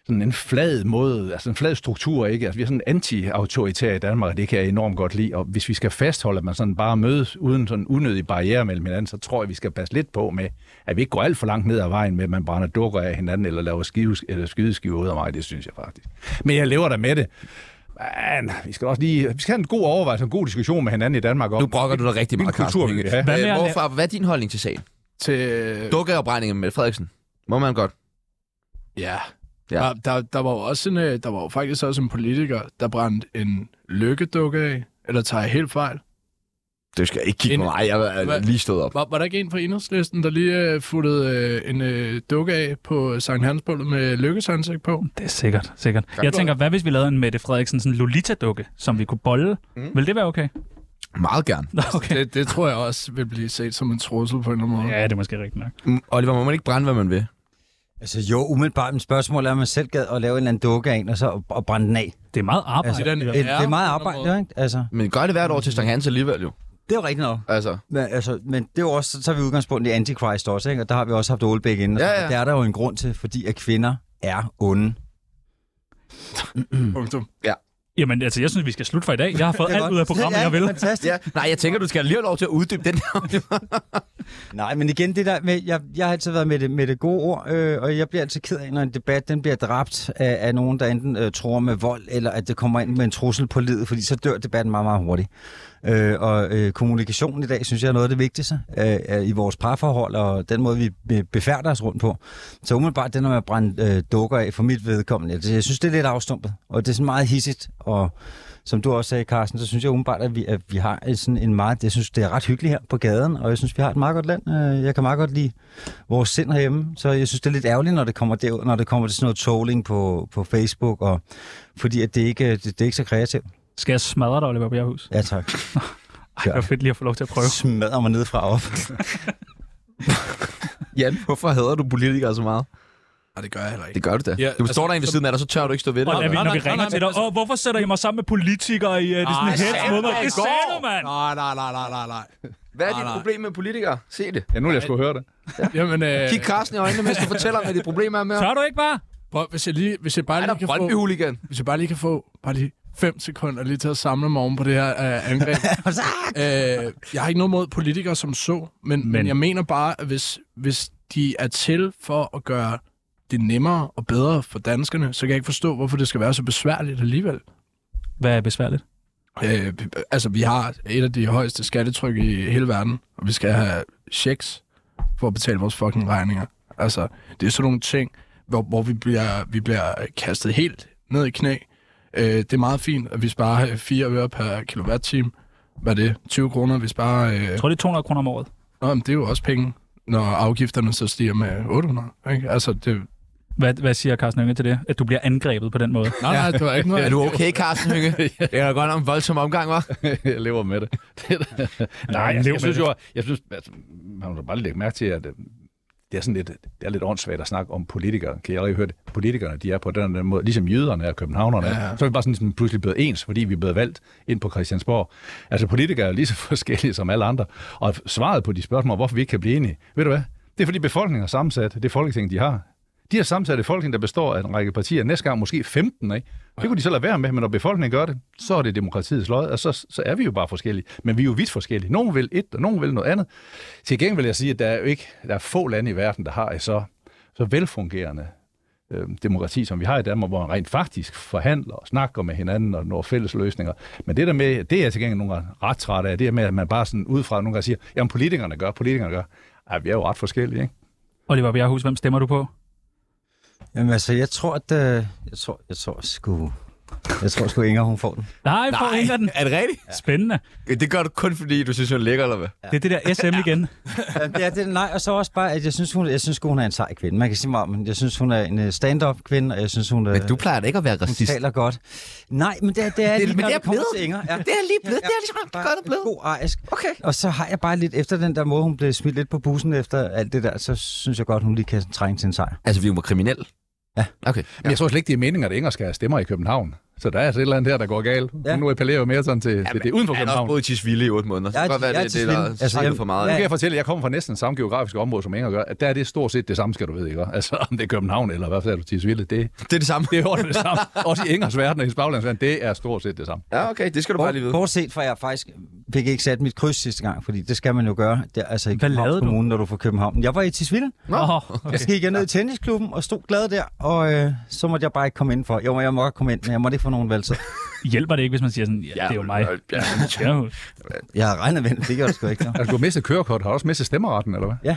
S5: sådan en flad måde, altså en flad struktur, ikke? Altså, vi er sådan anti-autoritære i Danmark, og det kan jeg enormt godt lide, og hvis vi skal fastholde, at man sådan bare mødes uden sådan unødige barriere mellem hinanden, så tror jeg, vi skal passe lidt på med, at vi ikke går alt for langt ned ad vejen med, at man brænder dukker af hinanden, eller laver skive, eller skydeskiver ud af mig, det synes jeg faktisk. Men jeg lever der med det. Men vi skal også lige, vi skal have en god overvejelse, en god diskussion med hinanden i Danmark om.
S1: Nu brokker du dig rigtig meget,
S5: Hvilken
S1: Carsten.
S5: kultur vi
S1: Hønge.
S5: vil have.
S2: Hvad med
S1: Øh,
S2: at lave-
S1: Hvorfor, hvad er din holdning til sagen?
S6: Til...
S1: Dukkeopbrændingen med Frederiksen. Må man godt.
S6: Ja.
S1: Ja.
S6: ja. Der, der, der, var jo også en, øh, der var jo faktisk også en politiker, der brændte en lykkedukke af. Eller tager jeg helt fejl?
S1: Du skal ikke kigge
S6: En-
S1: på mig. Jeg er
S6: Hvad?
S1: lige stået op.
S6: Var, var der ikke en fra enhedslisten, der lige øh, futtede øh, en øh, dukke af på Sankt Hansbålet med lykkesansigt på?
S2: Det er sikkert, sikkert. Jeg tænker, hvad hvis vi lavede en Mette Frederiksen sådan Lolita-dukke, som vi kunne bolle? Mm. Vil det være okay?
S1: Meget gerne.
S2: Nå, okay.
S6: Det, det tror jeg også vil blive set som en trussel på en eller anden måde.
S2: Ja, det er måske rigtigt nok.
S1: Mm, Oliver, må man ikke brænde, hvad man vil?
S3: Altså jo, umiddelbart. Men spørgsmålet er, om man selv gad at lave en eller anden dukke af en, og så og brænde den af.
S2: Det er meget arbejde.
S3: Altså,
S2: Altså,
S6: det er den-
S3: det, det, er meget
S6: Ja, på en
S3: arbejde,
S6: måde.
S3: jo, ikke? Altså,
S1: Men gør det hvert år til Sankt Hans alligevel jo.
S3: det er jo rigtigt nok.
S1: Altså,
S3: Men, altså, men det er jo også, så tager vi udgangspunkt i Antichrist også, ikke? og der har vi også haft Aalbæk inden. og
S1: Ja,
S3: sådan
S1: ja.
S3: noget. Der er der jo en grund til, fordi at kvinder er onde.
S6: Mm. Punktum.
S2: Jamen, altså, jeg synes, vi skal slutte for i dag. Jeg har fået
S3: Det er
S2: alt
S3: godt.
S2: ud af programmet,
S3: Ja,
S2: jeg vil.
S3: Fantastisk.
S1: Ja, nej, jeg tænker, du skal lige have lov til at uddybe den her.
S3: Nej, men igen, det der med, jeg, jeg har altid været med det, med det gode ord, øh, og jeg bliver altid ked af, når en debat den bliver dræbt af, af nogen, der enten øh, tror med vold, eller at det kommer ind med en trussel på livet, fordi så dør debatten meget, meget hurtigt. Øh, og øh, kommunikationen i dag, synes jeg, er noget af det vigtigste øh, øh, i vores parforhold, og den måde, vi be- befærder os rundt på. Så umiddelbart, det når man brænder øh, dukker af for mit vedkommende, jeg, jeg synes, det er lidt afstumpet, og det er sådan meget hissigt, og som du også sagde, Carsten, så synes jeg umiddelbart, at vi, at vi har en sådan en meget... Jeg synes, det er ret hyggeligt her på gaden, og jeg synes, vi har et meget godt land. Øh, Jeg kan meget godt lide vores sind herhjemme, så jeg synes, det er lidt ærgerligt, når det kommer, derud, når det kommer til sådan noget trolling på, på Facebook, og, fordi at det, ikke, det, det er ikke så kreativt.
S2: Skal jeg smadre dig, Oliver Bjerghus?
S3: Ja, tak.
S2: Ej, det var fedt lige at få lov til at prøve.
S3: Smadrer mig ned fra op.
S1: Jan, hvorfor hader du politikere så meget?
S6: Nej, det gør jeg heller ikke.
S1: Det gør du da.
S6: Ja,
S1: du står
S6: altså,
S1: derinde ved siden af dig, så tør du ikke stå ved det.
S2: Og når vi,
S4: nej,
S2: når
S4: nej,
S2: vi
S4: nej,
S2: ringer
S4: nej,
S2: til dig, åh, hvorfor sætter I mig sammen med politikere i øh, det er sådan en
S4: sagde
S2: hets
S4: du
S2: mod mig?
S4: da i
S2: Det
S4: går.
S2: sagde du, mand!
S6: Nej, nej, nej, nej, nej, nej.
S1: Hvad er dit
S6: nej.
S1: problem med politikere? Se det.
S5: Ja, nu vil jeg sgu høre det.
S6: Jamen, øh,
S1: Kig Carsten i øjnene, mens du fortæller, hvad dit problem er med ham.
S2: Tør du ikke bare?
S6: prøv, hvis jeg lige, hvis jeg bare
S1: Han
S6: lige
S1: er
S6: kan
S1: brøndby
S6: få,
S1: hooligan
S6: hvis jeg bare lige kan få, bare lige fem sekunder lige til at samle mig oven på det her øh, angreb. øh, jeg har ikke noget mod politikere som så, men, men. men jeg mener bare, at hvis, hvis de er til for at gøre det nemmere og bedre for danskerne, så kan jeg ikke forstå, hvorfor det skal være så besværligt alligevel.
S2: Hvad er besværligt?
S6: Øh, altså, vi har et af de højeste skattetryk i hele verden, og vi skal have checks for at betale vores fucking regninger. Altså, det er sådan nogle ting, hvor, hvor vi, bliver, vi bliver kastet helt ned i knæ. Øh, det er meget fint, at vi sparer 4 øre per kilowatt-time. Hvad er det? 20 kroner, vi sparer... Øh...
S2: Jeg tror, det er 200 kroner om året.
S6: Nå, men det er jo også penge, når afgifterne så stiger med 800. Ikke? Altså, det...
S2: Hvad, hvad siger Carsten Unge til det? At du bliver angrebet på den måde?
S6: Nej, nej, det var ikke noget.
S1: Er du okay, Carsten Hynge? Det er da godt nok en voldsom omgang, hva'?
S5: jeg lever med det. det er- Nej, altså,
S2: lev
S5: jeg,
S2: med
S5: jeg synes
S2: det.
S5: jo, jeg synes, altså, man må da bare lægge mærke til, at øh, det er sådan lidt, det er lidt åndssvagt at snakke om politikere. Kan jeg allerede høre det? Politikerne, de er på den, og den måde, ligesom jøderne og københavnerne, ja. så er vi bare sådan, sådan pludselig blevet ens, fordi vi er blevet valgt ind på Christiansborg. Altså politikere er lige så forskellige som alle andre. Og svaret på de spørgsmål, hvorfor vi ikke kan blive enige, ved du hvad? Det er fordi befolkningen er sammensat, det er folketinget, de har. De har sammensat et folketing, der består af en række partier, næste gang måske 15, ikke? Det kunne de så lade være med, men når befolkningen gør det, så er det demokratiets lod, og så, så er vi jo bare forskellige. Men vi er jo vidt forskellige. Nogen vil et, og nogen vil noget andet. Til gengæld vil jeg sige, at der er jo ikke, der er få lande i verden, der har et så, så velfungerende øh, demokrati, som vi har i Danmark, hvor man rent faktisk forhandler og snakker med hinanden og når fælles løsninger. Men det der med, det er jeg til gengæld nogle gange ret træt af, det er med, at man bare sådan udefra nogle gange siger, jamen politikerne gør, politikerne gør. Ej, vi er jo ret forskellige, ikke?
S2: Oliver Bjerghus, hvem stemmer du på?
S3: Jamen altså, jeg tror, at... Øh, jeg tror, jeg tror sgu... Jeg tror sgu Inger, hun får den.
S2: Nej, for
S1: Nej,
S2: Inger den.
S1: er det rigtigt?
S2: Spændende.
S1: Det gør du kun, fordi du synes, hun er lækker, eller hvad?
S2: Det er det der SM igen.
S3: ja, det, nej, og så også bare, at jeg synes, hun, jeg synes, hun er en sej kvinde. Man kan sige meget, men jeg synes, hun er en øh, stand-up kvinde, og jeg synes, hun,
S1: Men du plejer da ikke at være
S3: hun
S1: racist.
S3: taler godt. Nej, men det, er- det er
S1: Det-
S3: lige,
S1: men
S3: når
S1: det er
S3: vi kommer
S1: blevet.
S3: til Inger. Ja.
S1: Det er lige blevet. Det er ligesom
S3: Bare
S1: godt blevet.
S3: en God arisk.
S1: Okay.
S3: Og så har jeg bare lidt, efter den der måde, hun blev smidt lidt på bussen efter alt det der, så synes jeg godt, hun lige kan trænge til en sejr.
S1: Altså, vi er jo kriminelle.
S3: Ja.
S1: Okay.
S5: Men jeg tror slet ikke, det er meningen, at Inger skal have stemmer i København. Så der er altså et eller andet her, der går galt.
S3: Ja.
S5: Ja. Nu appellerer jeg jo mere sådan til, ja, til det uden for
S1: Han har også
S5: København.
S1: boet i Tisvilde i otte måneder. Det
S3: Jeg
S1: kan
S3: er-
S1: godt være,
S3: jeg er
S1: det, det er der
S3: Tisvilde. Altså,
S1: snakket
S3: jeg-
S1: for meget.
S5: Nu
S1: af.
S5: kan jeg fortælle, at jeg kommer fra næsten samme geografiske område, som Inger gør, at der er det stort set det samme, skal du vide, ikke? Altså, om det er København eller hvad fanden er du Tisvilde, det,
S1: Det er det samme.
S5: det er jo det samme. Også i Ingers verden og i Spaglands verden, det er stort set det samme.
S1: Ja, okay. Det skal du bare lige vide.
S3: Kort set, for jeg faktisk fik ikke sat mit kryds sidste gang, fordi det skal man jo gøre. Det er altså i
S2: Hvad lavede
S3: Københavns
S2: du?
S3: Kommune, når du er fra København. Jeg var i Tisvilde.
S2: Åh,
S3: Jeg gik jeg ned i tennisklubben og stod glad der, og øh, så måtte jeg bare ikke komme ind for. Jo, jeg må godt komme ind, men jeg måtte ikke få nogen valgtid.
S2: hjælper det ikke, hvis man siger sådan, ja, det er jo mig.
S1: Ja,
S2: Bjerghus.
S3: Jeg har regnet med det, det gør det sgu ikke. Så.
S5: Altså, du har mistet kørekort, har du også mistet stemmeretten, eller hvad?
S3: Ja,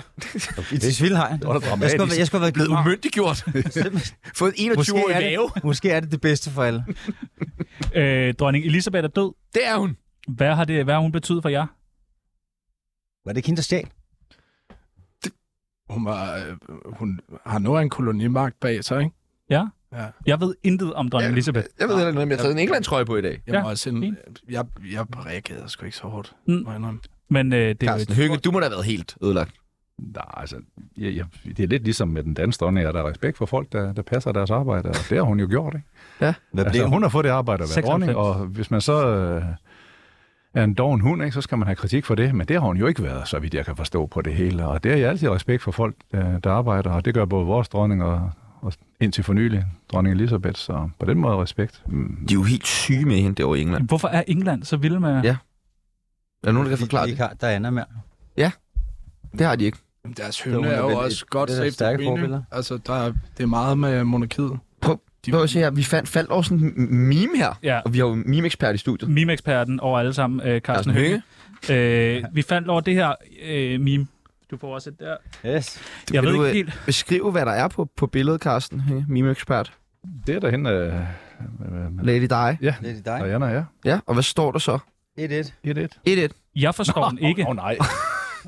S3: i Tisvilde har jeg.
S5: var da
S3: Jeg skulle,
S5: dramatisk.
S3: jeg skulle have været
S1: blevet
S3: blevet
S1: umyndiggjort. Fået 21 år i gave.
S3: Måske er det det bedste for alle.
S2: Øh, dronning Elisabeth er død.
S1: Det er hun.
S2: Hvad har, det, hvad har hun betydet for jer?
S3: Var det ikke hende, der stjal?
S6: Hun, var, øh, hun har noget af en kolonimagt bag sig, ikke?
S2: Ja?
S6: Ja.
S2: Jeg ved intet om dronning Elisabeth.
S1: Jeg ved heller ikke noget, men jeg har taget en England-trøje på i dag.
S6: Jeg,
S2: Ja,
S6: ja, også en,
S2: fint.
S6: jeg, jeg reagerede sgu ikke så hårdt.
S2: Mm.
S6: må jeg indrømme.
S2: Men øh, det er jo
S1: Carsten Hygge, du må da have været helt ødelagt.
S5: Nej, altså, jeg, jeg, det er lidt ligesom med den danske dronning, at der er respekt for folk, der, der passer deres arbejde, og det har hun jo gjort, ikke?
S3: Hvad blev
S5: Altså,
S3: hun?
S5: hun har fået det arbejde at være dronning,
S2: 96.
S5: og hvis man så øh, er en doven hund, ikke, så skal man have kritik for det, men det har hun jo ikke været, så vidt jeg kan forstå på det hele. Og det har jeg altid respekt for folk, øh, der arbejder, og det gør både vores dronning og og indtil for nylig dronning Elisabeth, så på den måde respekt. Mm.
S1: De er jo helt syge med hende derovre i England.
S2: Hvorfor er England så vild med...
S1: Ja. Er der nogen, der kan
S3: Fordi
S1: forklare
S3: de
S1: det?
S3: ikke har Diana mere.
S1: Det har de ikke.
S6: Deres
S3: Det
S6: høvne
S3: er
S6: er jo
S3: vel
S6: også
S3: et-
S6: godt
S3: det er da
S6: safe
S3: stærke
S6: stærke forbilleder.
S3: forbilleder.
S6: Altså, der er, det er meget med monarkiet.
S1: Prøv,
S6: De-
S1: prøv at se her. Vi fandt, faldt over sådan en m- meme her.
S2: Ja.
S1: Og vi har jo en meme-ekspert i studiet.
S2: Meme-eksperten over alle sammen, øh, Carsten
S1: Carsten
S2: Hønge. Øh, vi fandt over det her øh, meme. Du får også et der.
S3: Yes.
S1: Du,
S2: Jeg
S1: kan
S2: ved
S1: du,
S2: ikke
S1: øh,
S2: helt...
S1: Beskrive, hvad der er på, på billedet, Carsten Hønge, meme-ekspert.
S5: Det er derhen, øh, øh, øh,
S1: Lady Di.
S5: ja,
S3: Det er dig.
S5: Diana, ja,
S1: Ja, og hvad står der så?
S3: 1-1.
S5: 1-1.
S1: 1-1.
S2: Jeg forstår den ikke.
S5: Åh oh, nej.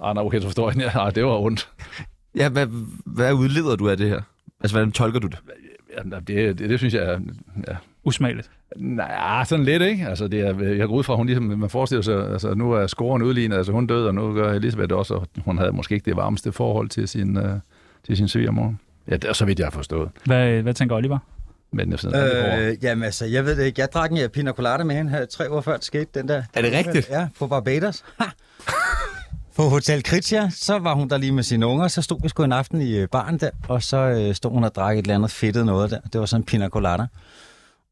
S5: Ah, nej, okay, så forstår jeg. den. Ja, det var ondt.
S1: Ja, hvad, hvad udleder du af det her? Altså, hvordan tolker du det?
S5: Jamen, det, det, det synes jeg er
S2: Usmageligt.
S5: Nej, sådan lidt, ikke? Altså, det er, jeg går ud fra, at hun ligesom, man forestiller sig, altså, nu er scoren udlignet, altså hun døde, og nu gør Elisabeth også, og hun havde måske ikke det varmeste forhold til sin, øh, til sin svigermor. Ja, det er så vidt, jeg har forstået.
S2: Hvad, hvad tænker Oliver?
S5: Men jeg sådan, øh,
S3: Øh, jamen altså, jeg ved det ikke. Jeg drak en øh, pina colada med hende her tre uger før det skete, den der.
S1: Er det rigtigt?
S3: Ja, på Barbados. Ha! På Hotel Kritia, så var hun der lige med sine unger, så stod vi sgu en aften i øh, baren der, og så øh, stod hun og drak et eller andet fedtet noget der. Det var sådan en pina colada.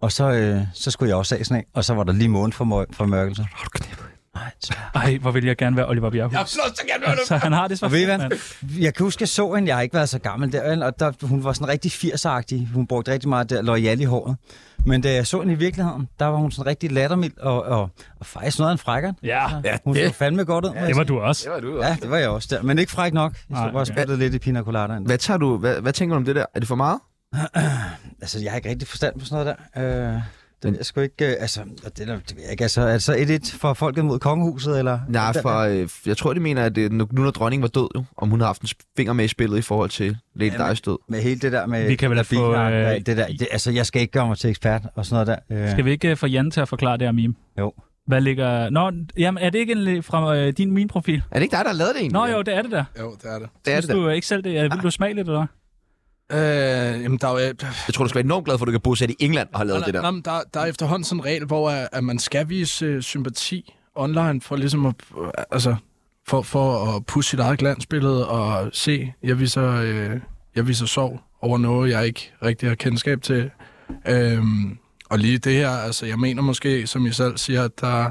S3: Og så, øh, så skulle jeg også af sådan en, og så var der lige måned for, mør- for mørkelse. Har du knippet? Nej, desværre.
S2: Ej, hvor vil jeg gerne være Oliver Bjerghus.
S4: Jeg slår så gerne
S2: Så han har det så
S3: Og ved I
S2: fedt,
S3: hvad?
S2: mand.
S3: Jeg kan huske, jeg så hende, jeg har ikke været så gammel der, vel? og der, hun var sådan rigtig 80 Hun brugte rigtig meget der loyal i håret. Men da jeg så hende i virkeligheden, der var hun sådan rigtig lattermild og, og, og faktisk noget af en frækker.
S2: Ja,
S3: Ja, hun så fandme godt ud. må jeg
S2: det var
S3: sige.
S2: du også.
S3: Ja, det var jeg også der. Men ikke fræk nok. Jeg
S2: Nej,
S3: stod bare og
S2: okay.
S3: spyttede lidt i pina coladaen.
S1: Hvad, tager du, hvad, hvad tænker du om det der? Er det for meget?
S3: Altså, jeg har ikke rigtig forstand på sådan noget der. Øh, det ved jeg sgu ikke, øh, altså, og det, er- det ved jeg ikke, altså, er det så et et for folket mod kongehuset, eller? Altså,
S1: Nej,
S3: Den-
S1: for øh, jeg tror, de mener, at øh, nu nu når dronningen var død, jo, om hun har haft en sp- finger med i spillet i forhold til Lady
S3: Jamen.
S1: Di's død.
S3: Med hele det der med...
S2: Vi kan vel have fået,
S3: bilejeren,
S2: øh,
S3: ja, det der, det, altså, jeg skal ikke gøre mig til ekspert og sådan noget der. Øh,
S2: Skal vi ikke øh, få Jan til at forklare det her meme?
S3: Jo.
S2: Hvad ligger... Nå, jamen, er det ikke en, fra øh, din min profil?
S1: Er det ikke dig, der har lavet det egentlig?
S2: Nå jo, det er det der.
S6: Jo, det er det.
S1: det er
S2: Synes
S1: det der.
S2: du øh, ikke selv det? Er, vil du smage lidt, eller hvad?
S6: Øh, jamen, der er jo... øh,
S1: Jeg tror, du skal være enormt glad for, at du kan bosætte i England og har lavet
S6: nej,
S1: det der.
S6: nej, men der, der er efterhånden sådan en regel, hvor at, at man skal vise øh, sympati online for ligesom at, øh, altså, for, for at pusse sit eget glansbillede og se, jeg viser, øh, jeg viser sorg over noget, jeg ikke rigtig har kendskab til. Øhm, og lige det her, altså jeg mener måske, som I selv siger, at der,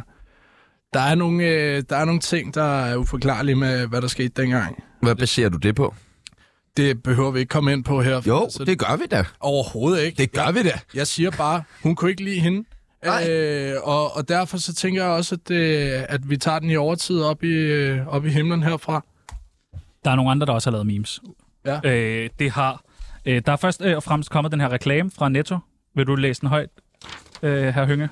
S6: der, er nogle, øh, der er nogle ting, der er uforklarlige med, hvad der skete dengang.
S1: Hvad baserer du det på?
S6: Det behøver vi ikke komme ind på her.
S1: Jo,
S6: altså,
S1: det gør vi da.
S6: overhovedet ikke.
S1: Det gør vi da.
S6: Jeg siger bare, hun kunne ikke lide hende.
S1: Nej.
S6: Øh, og, og derfor så tænker jeg også, at, øh, at vi tager den i overtid op i, øh, op i himlen herfra.
S2: Der er nogle andre, der også har lavet memes.
S6: Ja.
S2: Øh, det har... Øh, der er først øh, og fremmest kommet den her reklame fra Netto. Vil du læse den højt, øh, herr Hønge?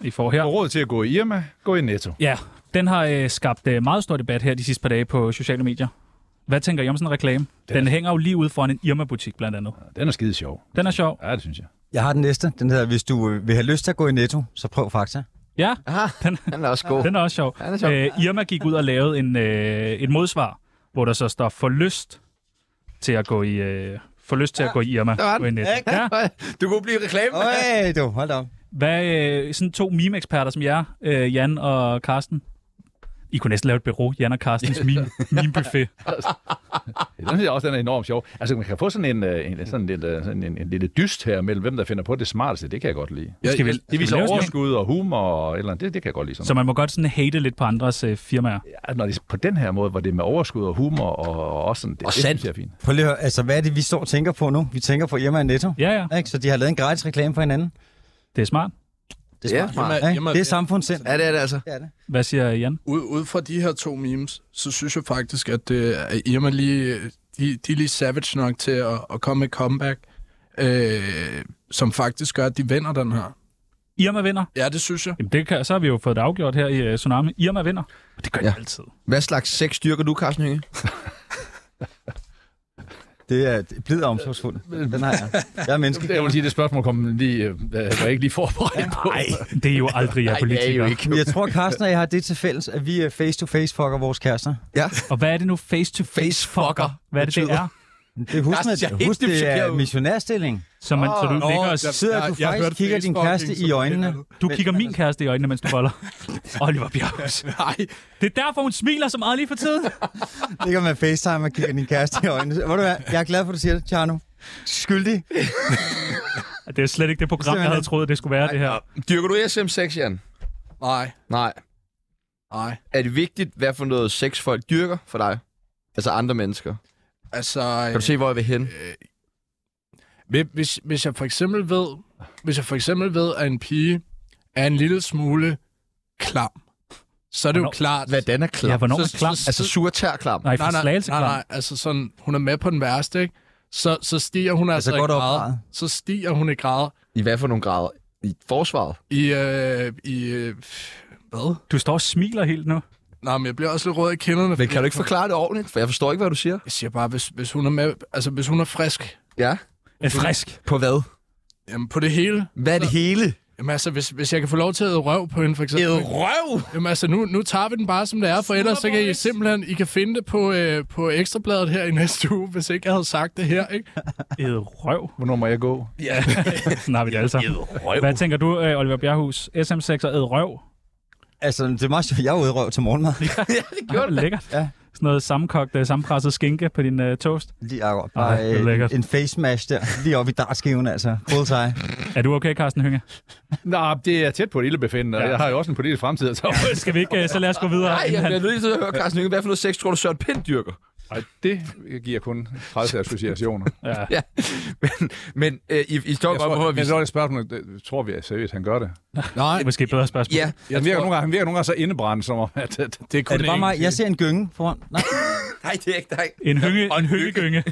S2: I får her.
S5: råd til at gå i Irma, gå i Netto.
S2: Ja, den har øh, skabt øh, meget stor debat her de sidste par dage på sociale medier. Hvad tænker I om sådan en reklame? Den, den hænger jo lige ude foran en Irma-butik, blandt andet.
S5: Den er skide sjov.
S2: Den er sjov.
S5: Ja, det synes jeg.
S3: Jeg har den næste. Den hedder, hvis du øh, vil have lyst til at gå i Netto, så prøv Fakta.
S2: Ja,
S1: Aha,
S2: Den-
S1: den er også god.
S2: Den er også sjov.
S1: Ja, den er sjov.
S2: Øh, Irma gik ud og lavede en, øh, et modsvar, hvor der så står for lyst til at gå i... Øh, for lyst til at gå i Irma.
S1: der var den.
S2: Gå i netto. Ja.
S1: Du kunne blive reklame.
S3: Øj, du, hold da op.
S2: Hvad øh, sådan to meme-eksperter som jer, øh, Jan og Karsten? I kunne næsten lave et bureau, Jan og Karstens meme, meme-buffet.
S5: Ja, Den synes jeg også, den er enormt sjov. Altså, man kan få sådan en, øh, en, sådan en, lille, sådan en, en lille dyst her mellem, hvem der finder på det smarteste. Det kan jeg godt lide.
S6: Jeg,
S2: Skal vi,
S6: jeg,
S2: skal
S5: Det
S2: vi
S5: viser
S2: lave sådan en?
S5: overskud og humor og et eller andet. Det, det kan jeg godt lide. Sådan
S2: Så man må godt sådan hate lidt på andres øh, firmaer.
S5: ja, når det er på den her måde, hvor det er med overskud og humor og, og også sådan... Det,
S1: Og
S5: det
S1: sandt.
S5: synes jeg er fint.
S3: Prøv lige at høre, altså, hvad er det, vi står og tænker på nu? Vi tænker på Irma og Netto.
S2: Ja, ja.
S3: Ikke? Så de har lavet en gratis reklame for hinanden.
S2: Det er smart.
S3: Det
S1: Ja,
S3: er smart.
S1: smart.
S3: ikke?
S6: Irma-
S3: det er samfundssind.
S1: Ja, det er det altså.
S3: Det er det.
S2: Hvad siger Jan?
S6: ud, ud fra de her to memes, så synes jeg faktisk, at, øh, at Irma lige, øh, de, de er lige savage nok til at, at komme med et comeback, øh, som faktisk gør, at de vinder den her.
S2: Irma vinder.
S6: Ja, det synes jeg.
S2: Jamen, det kan, så har vi jo fået det afgjort her i øh, Tsunami. Irma vinder. Og Det gør ja.
S1: Ja.
S2: de altid.
S1: Hvad slags sex styrker du, Carsten Hønge?
S3: Det er det er blid og omsorgsfuldt. Den har jeg. Jeg er menneske.
S5: Jeg vil sige, det spørgsmål kom lige, øh, var jeg ikke lige forberedt på. Nej.
S2: Det er jo aldrig jer politikere.
S3: Men jeg tror, Carsten og jeg har det til fælles, at vi øh, face-to-face fucker vores kærester.
S2: Og hvad er det nu face-to-face
S1: Facefucker
S2: Hvad er det, det
S1: betyder?
S2: er?
S3: Det husk,
S4: Jeg ser
S3: med,
S4: helt
S3: husk det
S4: chokeret
S3: er
S4: ud.
S3: missionærstilling.
S2: Så, man, så du
S6: Nå,
S2: ligger og
S6: jeg-
S3: Sidder du
S6: jeg
S3: faktisk
S6: hørte
S3: kigger din
S6: Facebook,
S3: kæreste
S6: ikke?
S3: i øjnene?
S2: Du kigger min kæreste i øjnene, mens du folder. Oliver Bjerghus.
S6: Nej,
S2: Det er derfor, hun smiler så meget lige for tiden.
S3: Ligger med FaceTime og kigger din kæreste i øjnene. Ved du hvad? Jeg er glad for, at du siger det, Tjerno. Skyldig.
S2: Det er slet ikke det program, jeg
S3: Simpelthen.
S2: havde troet, det skulle være, det her.
S1: Dyrker du SM6, Jan?
S6: nej,
S1: Nej.
S6: nej.
S1: Er det vigtigt, hvad for noget sex folk dyrker for dig? Altså andre mennesker.
S6: Altså,
S1: Kan du se, hvor jeg vil hen?
S6: Hvis- hvis, hvis jeg for eksempel ved, hvis jeg for eksempel ved, at en pige er en lille smule klam, så er det
S2: Hvornår-
S6: jo klart...
S1: Hvordan er
S2: Ja,
S1: klam?
S2: hvornår er
S6: Så-
S2: klam?
S6: så-
S1: Altså surtærklam.
S2: Nej,
S6: Nej,
S2: for
S6: nej,
S2: slagelse
S6: nej, nej, altså sådan, hun er med på den værste, ikke? Så, så stiger hun altså,
S3: godt
S6: i
S3: opdraget.
S6: grader. Så stiger hun i grader
S1: I hvad for nogle grader? I forsvaret?
S6: i... Øh, i øh, hvad?
S2: Du står og smiler helt nu.
S6: Nej, men jeg bliver også lidt rød i kinderne.
S1: Men
S6: fordi-
S1: kan du ikke forklare det ordentligt? For jeg forstår ikke, hvad du siger.
S6: Jeg siger bare, hvis, hvis hun er med, altså hvis hun er frisk,
S1: Ja.
S2: Er frisk.
S1: På hvad?
S6: jamen på det hele.
S1: Hvad er det hele?
S6: Jamen altså, hvis, hvis jeg kan få lov til at æde røv på hende, for eksempel.
S1: Et røv!
S6: Jamen altså, nu, nu tager vi den bare, som det er, for ellers så kan I simpelthen, I kan finde det på, øh, på Ekstrabladet her i næste uge, hvis ikke jeg havde sagt det her, ikke?
S2: Ed røv.
S5: Hvornår må jeg gå?
S2: Sådan har vi det altså. Hvad tænker du, øh, Oliver Bjerghus? SM6 og æd røv?
S3: Altså, det er meget sjovt. Jeg er ude i røv til morgenmad.
S2: Gjorde det lækkert.
S3: Ja.
S2: Sådan noget sammenkogt, øh, sammenpresset skinke på din øh, toast.
S3: Lige akkurat.
S2: Ej,
S3: Bare
S2: det er lækkert.
S3: øh, en face smash der. Lige oppe i dartskiven, altså. Bullseye.
S2: Er du okay, Carsten Hynge?
S5: Nå, det er tæt på et ildebefindende, og
S2: Ja.
S5: jeg har jo også en politisk fremtid. Så.
S2: Skal vi ikke, øh, så lad os gå videre?
S1: Nej, jeg
S2: inden han-
S1: bliver nødt til at høre, Carsten Lykke. Hvad for noget sex tror du, Søren Pind dyrker?
S5: Ej, det giver kun 30 associationer.
S2: Ja.
S1: Men øh, I, I står
S5: Jeg
S1: bare på,
S5: tror,
S1: at vi...
S5: men så er det spørgsmål, det- tror vi seriøst, han gør det?
S2: Det er måske et bedre spørgsmål.
S1: Ja,
S5: Han virker, nogle gange, han virker nogle gange så indebrændt, som om, at, at
S6: Det er kun
S3: Er det bare mig? Jeg ser en gynge foran. Nej,
S1: nej, det er ikke dig.
S2: En hynge, en hyggegynge.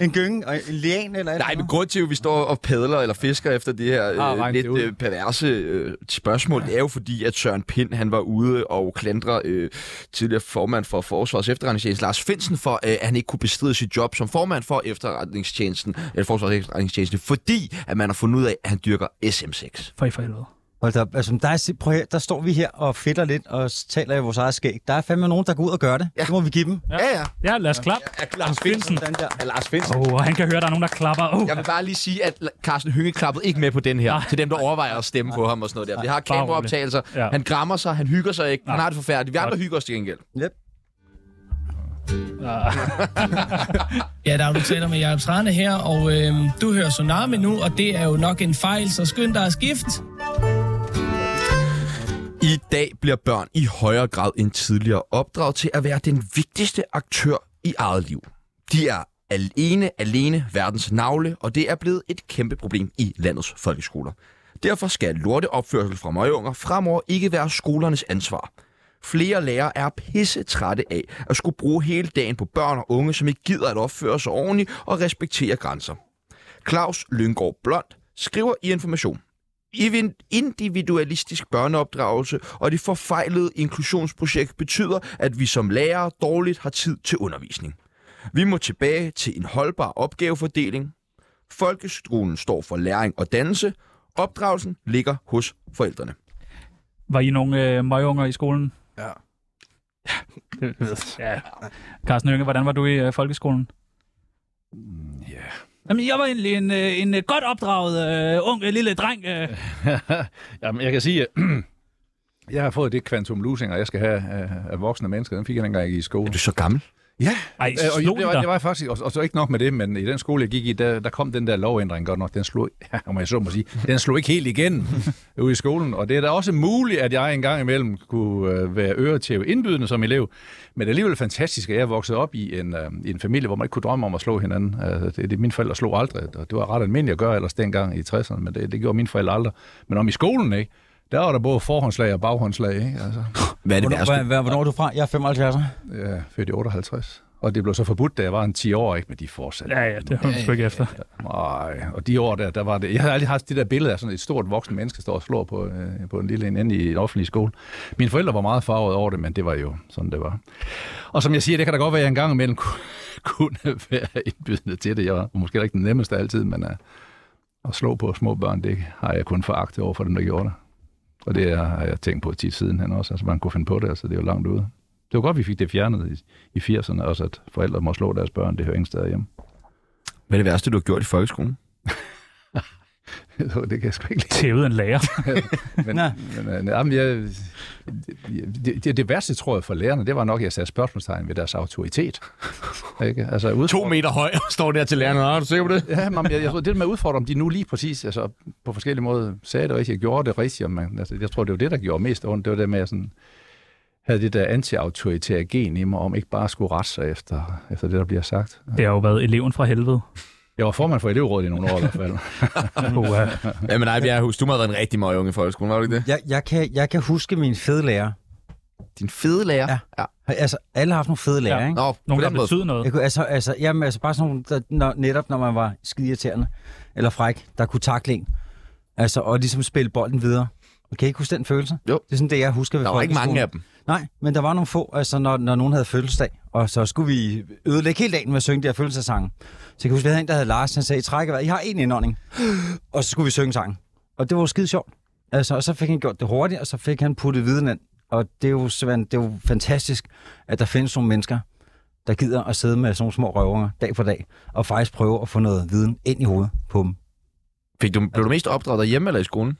S3: en gynge og en lian eller et
S1: Nej,
S3: eller
S1: men
S3: andet.
S1: grund til, at vi står og padler eller fisker efter det her
S5: Ah,
S1: øh,
S5: regn
S1: lidt
S5: det ud.
S1: øh, perverse øh, spørgsmål, det er jo fordi, at Søren Pind han var ude og klandre øh, tidligere formand for Forsvarets Efterretningstjeneste, Lars Finsen, for øh, at han ikke kunne bestride sit job som formand for efterretningstjenesten, eller Forsvarets Efterretningstjeneste, fordi at man har fundet ud af, at han dyrker SM6.
S2: For i for helvede.
S3: Hold da op. Altså, der, er, si- prøv her, der står vi her og fedter lidt og s- taler i vores eget skæg. Der er fandme nogen, der går ud og gør det. Ja. Det må vi give dem.
S1: Ja, ja.
S2: Ja, lad os klappe.
S1: Er Lars
S2: Finsen.
S1: Finsen.
S3: Den der.
S1: Er Lars Finsen.
S2: Åh, oh, han kan høre, der er nogen, der klapper. Oh.
S1: Jeg vil bare lige sige, at Carsten Hynge klappede ikke med på den her.
S2: Nej.
S1: Til dem, der overvejer at stemme på ham og sådan noget der. Vi har kameraoptagelser.
S2: Ja.
S1: Han grammer sig, han hygger sig ikke. Han
S2: Nej.
S1: har det forfærdeligt. Vi andre hygger os til gengæld.
S3: Yep.
S8: Ja, der er du taler med Jacob Strane her, og øh, du hører Tsunami nu, og det er jo nok en fejl, så skynd dig at skifte.
S1: I dag bliver børn i højere grad end tidligere opdraget til at være den vigtigste aktør i eget liv. De er alene, alene verdens navle, og det er blevet et kæmpe problem i landets folkeskoler. Derfor skal lorteopførsel fra møgeunger fremover ikke være skolernes ansvar. Flere lærere er pisse trætte af at skulle bruge hele dagen på børn og unge, som ikke gider at opføre sig ordentligt og respektere grænser. Claus Lyngård Blond skriver i Information. Even- Individualistisk børneopdragelse og det forfejlede inklusionsprojekt betyder, at vi som lærere dårligt har tid til undervisning. Vi må tilbage til en holdbar opgavefordeling. Folkeskolen står for læring og dannelse. Opdragelsen ligger hos forældrene.
S2: Var I nogle øh, møgunger i skolen?
S6: Ja.
S2: Ja, det ved jeg. Ja. Carsten Hynge, hvordan var du i øh, folkeskolen?
S5: ja.
S2: Jamen, jeg var egentlig en, øh, en øh, godt opdraget øh, ung øh, lille dreng. Øh.
S5: Jamen, jeg kan sige, at jeg har fået det kvantum lusinger, jeg skal have øh, af voksne mennesker. Den fik jeg dengang ikke i skole.
S1: Er du så gammel?
S5: Ja,
S2: Ej,
S5: Øh, og
S2: slog
S5: det, var,
S2: den dig?
S5: det var faktisk, og, og så ikke nok med det, men i den skole, jeg gik i, der, der kom den der lovændring godt nok. Den slog, ja, om jeg så må sige, den slog ikke helt igen ude i skolen. Og det er da også muligt, at jeg engang imellem kunne øh, være øre til indbydende som elev. Men det er alligevel fantastisk, at jeg voksede op i en, øh, i en familie, hvor man ikke kunne drømme om at slå hinanden. Øh, det, det, mine forældre slog aldrig, og det var ret almindeligt at gøre ellers dengang i 60'erne, men det, det gjorde mine forældre aldrig. Men om i skolen, ikke? Der var der både forhåndslag og baghåndslag, ikke? Altså,
S1: Hvad er det
S3: Hvornår,
S1: værste?
S3: hva- hva- hvornår er du fra? Jeg er 75.
S5: ja, født i 58. Og det blev så forbudt, da jeg var en 10 år, ikke? Men de fortsatte.
S2: Ja, ja, det har man sgu ikke efter.
S5: Nej, og de år der, der var det... Jeg havde aldrig haft det der billede af sådan et stort voksen menneske, der står og slår på, øh, på en lille en inde i en offentlig skole. Mine forældre var meget farvet over det, men det var jo sådan, det var. Og som jeg siger, det kan da godt være, at jeg engang imellem kunne, kunne være indbydende til det. Jeg var måske ikke den nemmeste altid, men øh, at slå på små børn, det har jeg kun foragt over for dem, der gjorde det. Og det har jeg tænkt på tit siden hen også. Altså, man kunne finde på det, altså det er jo langt ude. Det var godt, vi fik det fjernet i, i 80'erne også, at forældre må slå deres børn. Det hører ingen steder hjemme.
S1: Hvad er det værste, du har gjort i folkeskolen?
S5: det kan jeg sgu ikke lide.
S2: Tævet en lærer.
S5: Men,
S3: Nå.
S5: men, øh, nej, men jeg, det, det, det værste, tror jeg, for lærerne, det var nok, at jeg satte spørgsmålstegn ved deres autoritet. Ikke? Altså,
S9: To
S5: udfordre-
S9: meter høj og står der til læreren. Er du sikker på det?
S5: Ja, men jeg, jeg tror, det med at udfordre, om de nu lige præcis altså, på forskellige måder sagde det rigtigt, gjorde det rigtigt. om Man, altså, jeg tror, det var det, der gjorde mest ondt. Det var det med, at jeg sådan, havde det der anti-autoritære gen i mig, om ikke bare at skulle rette sig efter, efter det, der bliver sagt.
S2: Det har jo været eleven fra helvede.
S5: Jeg var formand for elevrådet i nogle år i hvert fald.
S2: Uha.
S9: Ja, men nej, Bjerrehus, du må have været en rigtig meget unge i folkeskolen, var du ikke det?
S3: Jeg, jeg, kan, jeg kan huske min fede lærer.
S9: Din fede lærer.
S3: Ja. Altså, alle har haft nogle fede lærer,
S2: Ja.
S3: ja. ikke?
S9: Nå, på
S2: Nogen, der
S9: den måde.
S2: betyder noget.
S3: Jeg kunne, altså, altså, jamen, altså bare sådan nogle, der, når, netop når man var skidirriterende eller fræk, der kunne takle en. Altså, og ligesom spille bolden videre. Og Kan I ikke huske den følelse?
S9: Jo.
S3: Det er sådan det, jeg husker ved
S9: Der var ikke mange
S3: folkeskolen.
S9: af dem.
S3: Nej, men der var nogle få, altså når, når nogen havde fødselsdag, og så skulle vi ødelægge hele dagen med at synge de her fødselsdagssange. Så jeg kan huske, vi havde en, der hed Lars, han sagde, I trækker vejret, I har en indånding. Og så skulle vi synge sangen. Og det var jo skide sjovt. Altså, og så fik han gjort det hurtigt, og så fik han puttet viden ind. Og det er jo, simpelthen- det er jo fantastisk, at der findes nogle mennesker, der gider at sidde med sådan nogle små røvunger dag for dag, og faktisk prøve at få noget viden ind i hovedet på dem.
S1: Fik du, blev du mest opdraget derhjemme eller i skolen?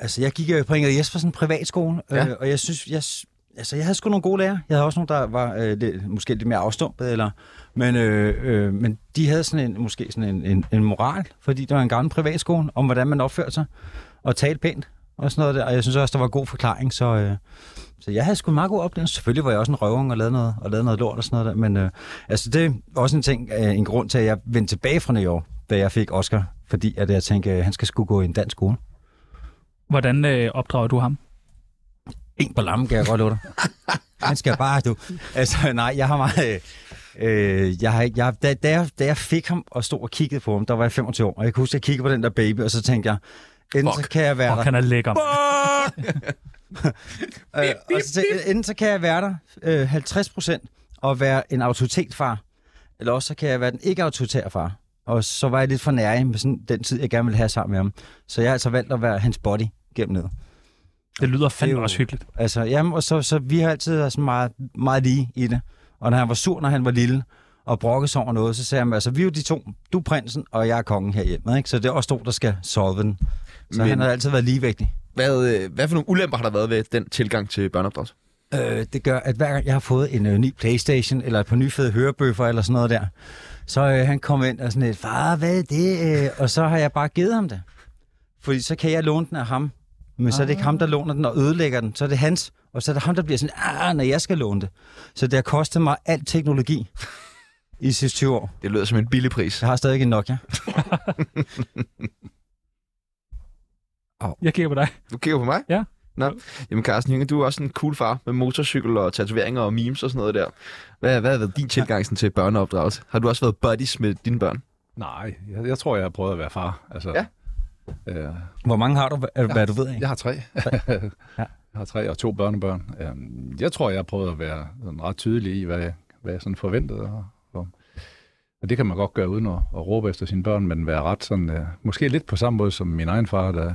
S3: Altså, jeg gik øh, på Inger Jespersen privatskole, ja. øh, og jeg synes, jeg, s- altså, jeg havde sgu nogle gode lærere. Jeg havde også nogle, der var øh, lidt, måske lidt mere afstumpet, eller, men, øh, øh, men de havde sådan en, måske sådan en, en, en moral, fordi det var en gammel privatskole, om hvordan man opførte sig, og talte pænt, og sådan noget der. Og jeg synes også, der var god forklaring, så, øh, så jeg havde sgu en meget god oplevelse. Selvfølgelig var jeg også en røvung og lavede noget, og lavede noget lort og sådan noget der, men øh, altså, det er også en ting, øh, en grund til, at jeg vendte tilbage fra New York, da jeg fik Oscar, fordi at jeg tænkte, øh, han skal sgu gå i en dansk skole.
S2: Hvordan øh, opdrager du ham?
S3: En på lammen, kan jeg godt love dig. Han skal bare, du. Altså, nej, jeg har meget... øh, Øh, jeg har, ikke- jeg, da, da, jeg, da jeg fik ham og stod og kiggede på ham, der var jeg 25 år, og jeg kunne huske, at jeg kiggede på den der baby, og så tænkte jeg, enten så kan jeg være
S2: Og kan er lækker.
S3: der, øh, og så tænkte, jeg, enten så kan jeg være der øh, 50 procent og være en autoritetfar, eller også så kan jeg være den ikke-autoritære far. Og så var jeg lidt for nærig med sådan, den tid, jeg gerne ville have sammen med ham. Så jeg har altså valgt at være hans body gennem ned.
S2: Det lyder
S3: Det er
S2: fandme
S3: jo-
S2: også hyggeligt.
S3: Altså, jamen, og så, så vi har altid været sådan meget, meget lige i det. Og når han var sur, når han var lille, og brokkede sig over noget, så sagde han, altså, vi er jo de to, du er prinsen, og jeg er kongen herhjemme, ikke? Så det er også to, der skal solve den. Så Men...
S1: Men-
S3: han har altid været ligevægtig.
S1: Hvad, øh, hvad for nogle ulemper har der været ved den tilgang til børneopdragelse?
S3: Øh, det gør, at hver gang jeg har fået en øh, ny Playstation, eller et par nye fede hørebøffer, eller sådan noget der, så øh, han kommer ind og sådan lidt, far, hvad er det? Øh, og så har jeg bare givet ham det. Fordi så kan jeg låne den af ham. Men så er det ikke ham,
S5: Ah.
S3: der låner den og ødelægger den. Så er det hans. Og så er det ham, der bliver sådan, ah, når jeg skal låne det. Så det har kostet mig al teknologi i de sidste 20 år.
S1: Det lyder som en billig pris.
S3: Jeg har stadig en Nokia.
S2: Jeg kigger på dig.
S1: Du kigger på mig?
S2: Ja.
S1: Nå. Jamen Carsten Hynge, du er også en cool far med motorcykel og tatoveringer og memes og sådan noget der. Hvad, hvad har været din tilgang sådan, til børneopdragelse? Har du også været buddies med dine børn?
S5: Nej, jeg, jeg tror, jeg har prøvet at være far. Altså,
S1: Ja.
S5: øh,
S3: Hvor mange har du, hvad, hvad du ved af?
S5: Jeg har tre. jeg har tre og to børnebørn. Øhm, Jeg tror, jeg har prøvet at være sådan ret tydelig i, hvad jeg, hvad jeg sådan forventede. Og, og, og det kan man godt gøre uden at, at råbe efter sine børn, men være ret sådan, øh, måske lidt på samme måde som min egen far, der,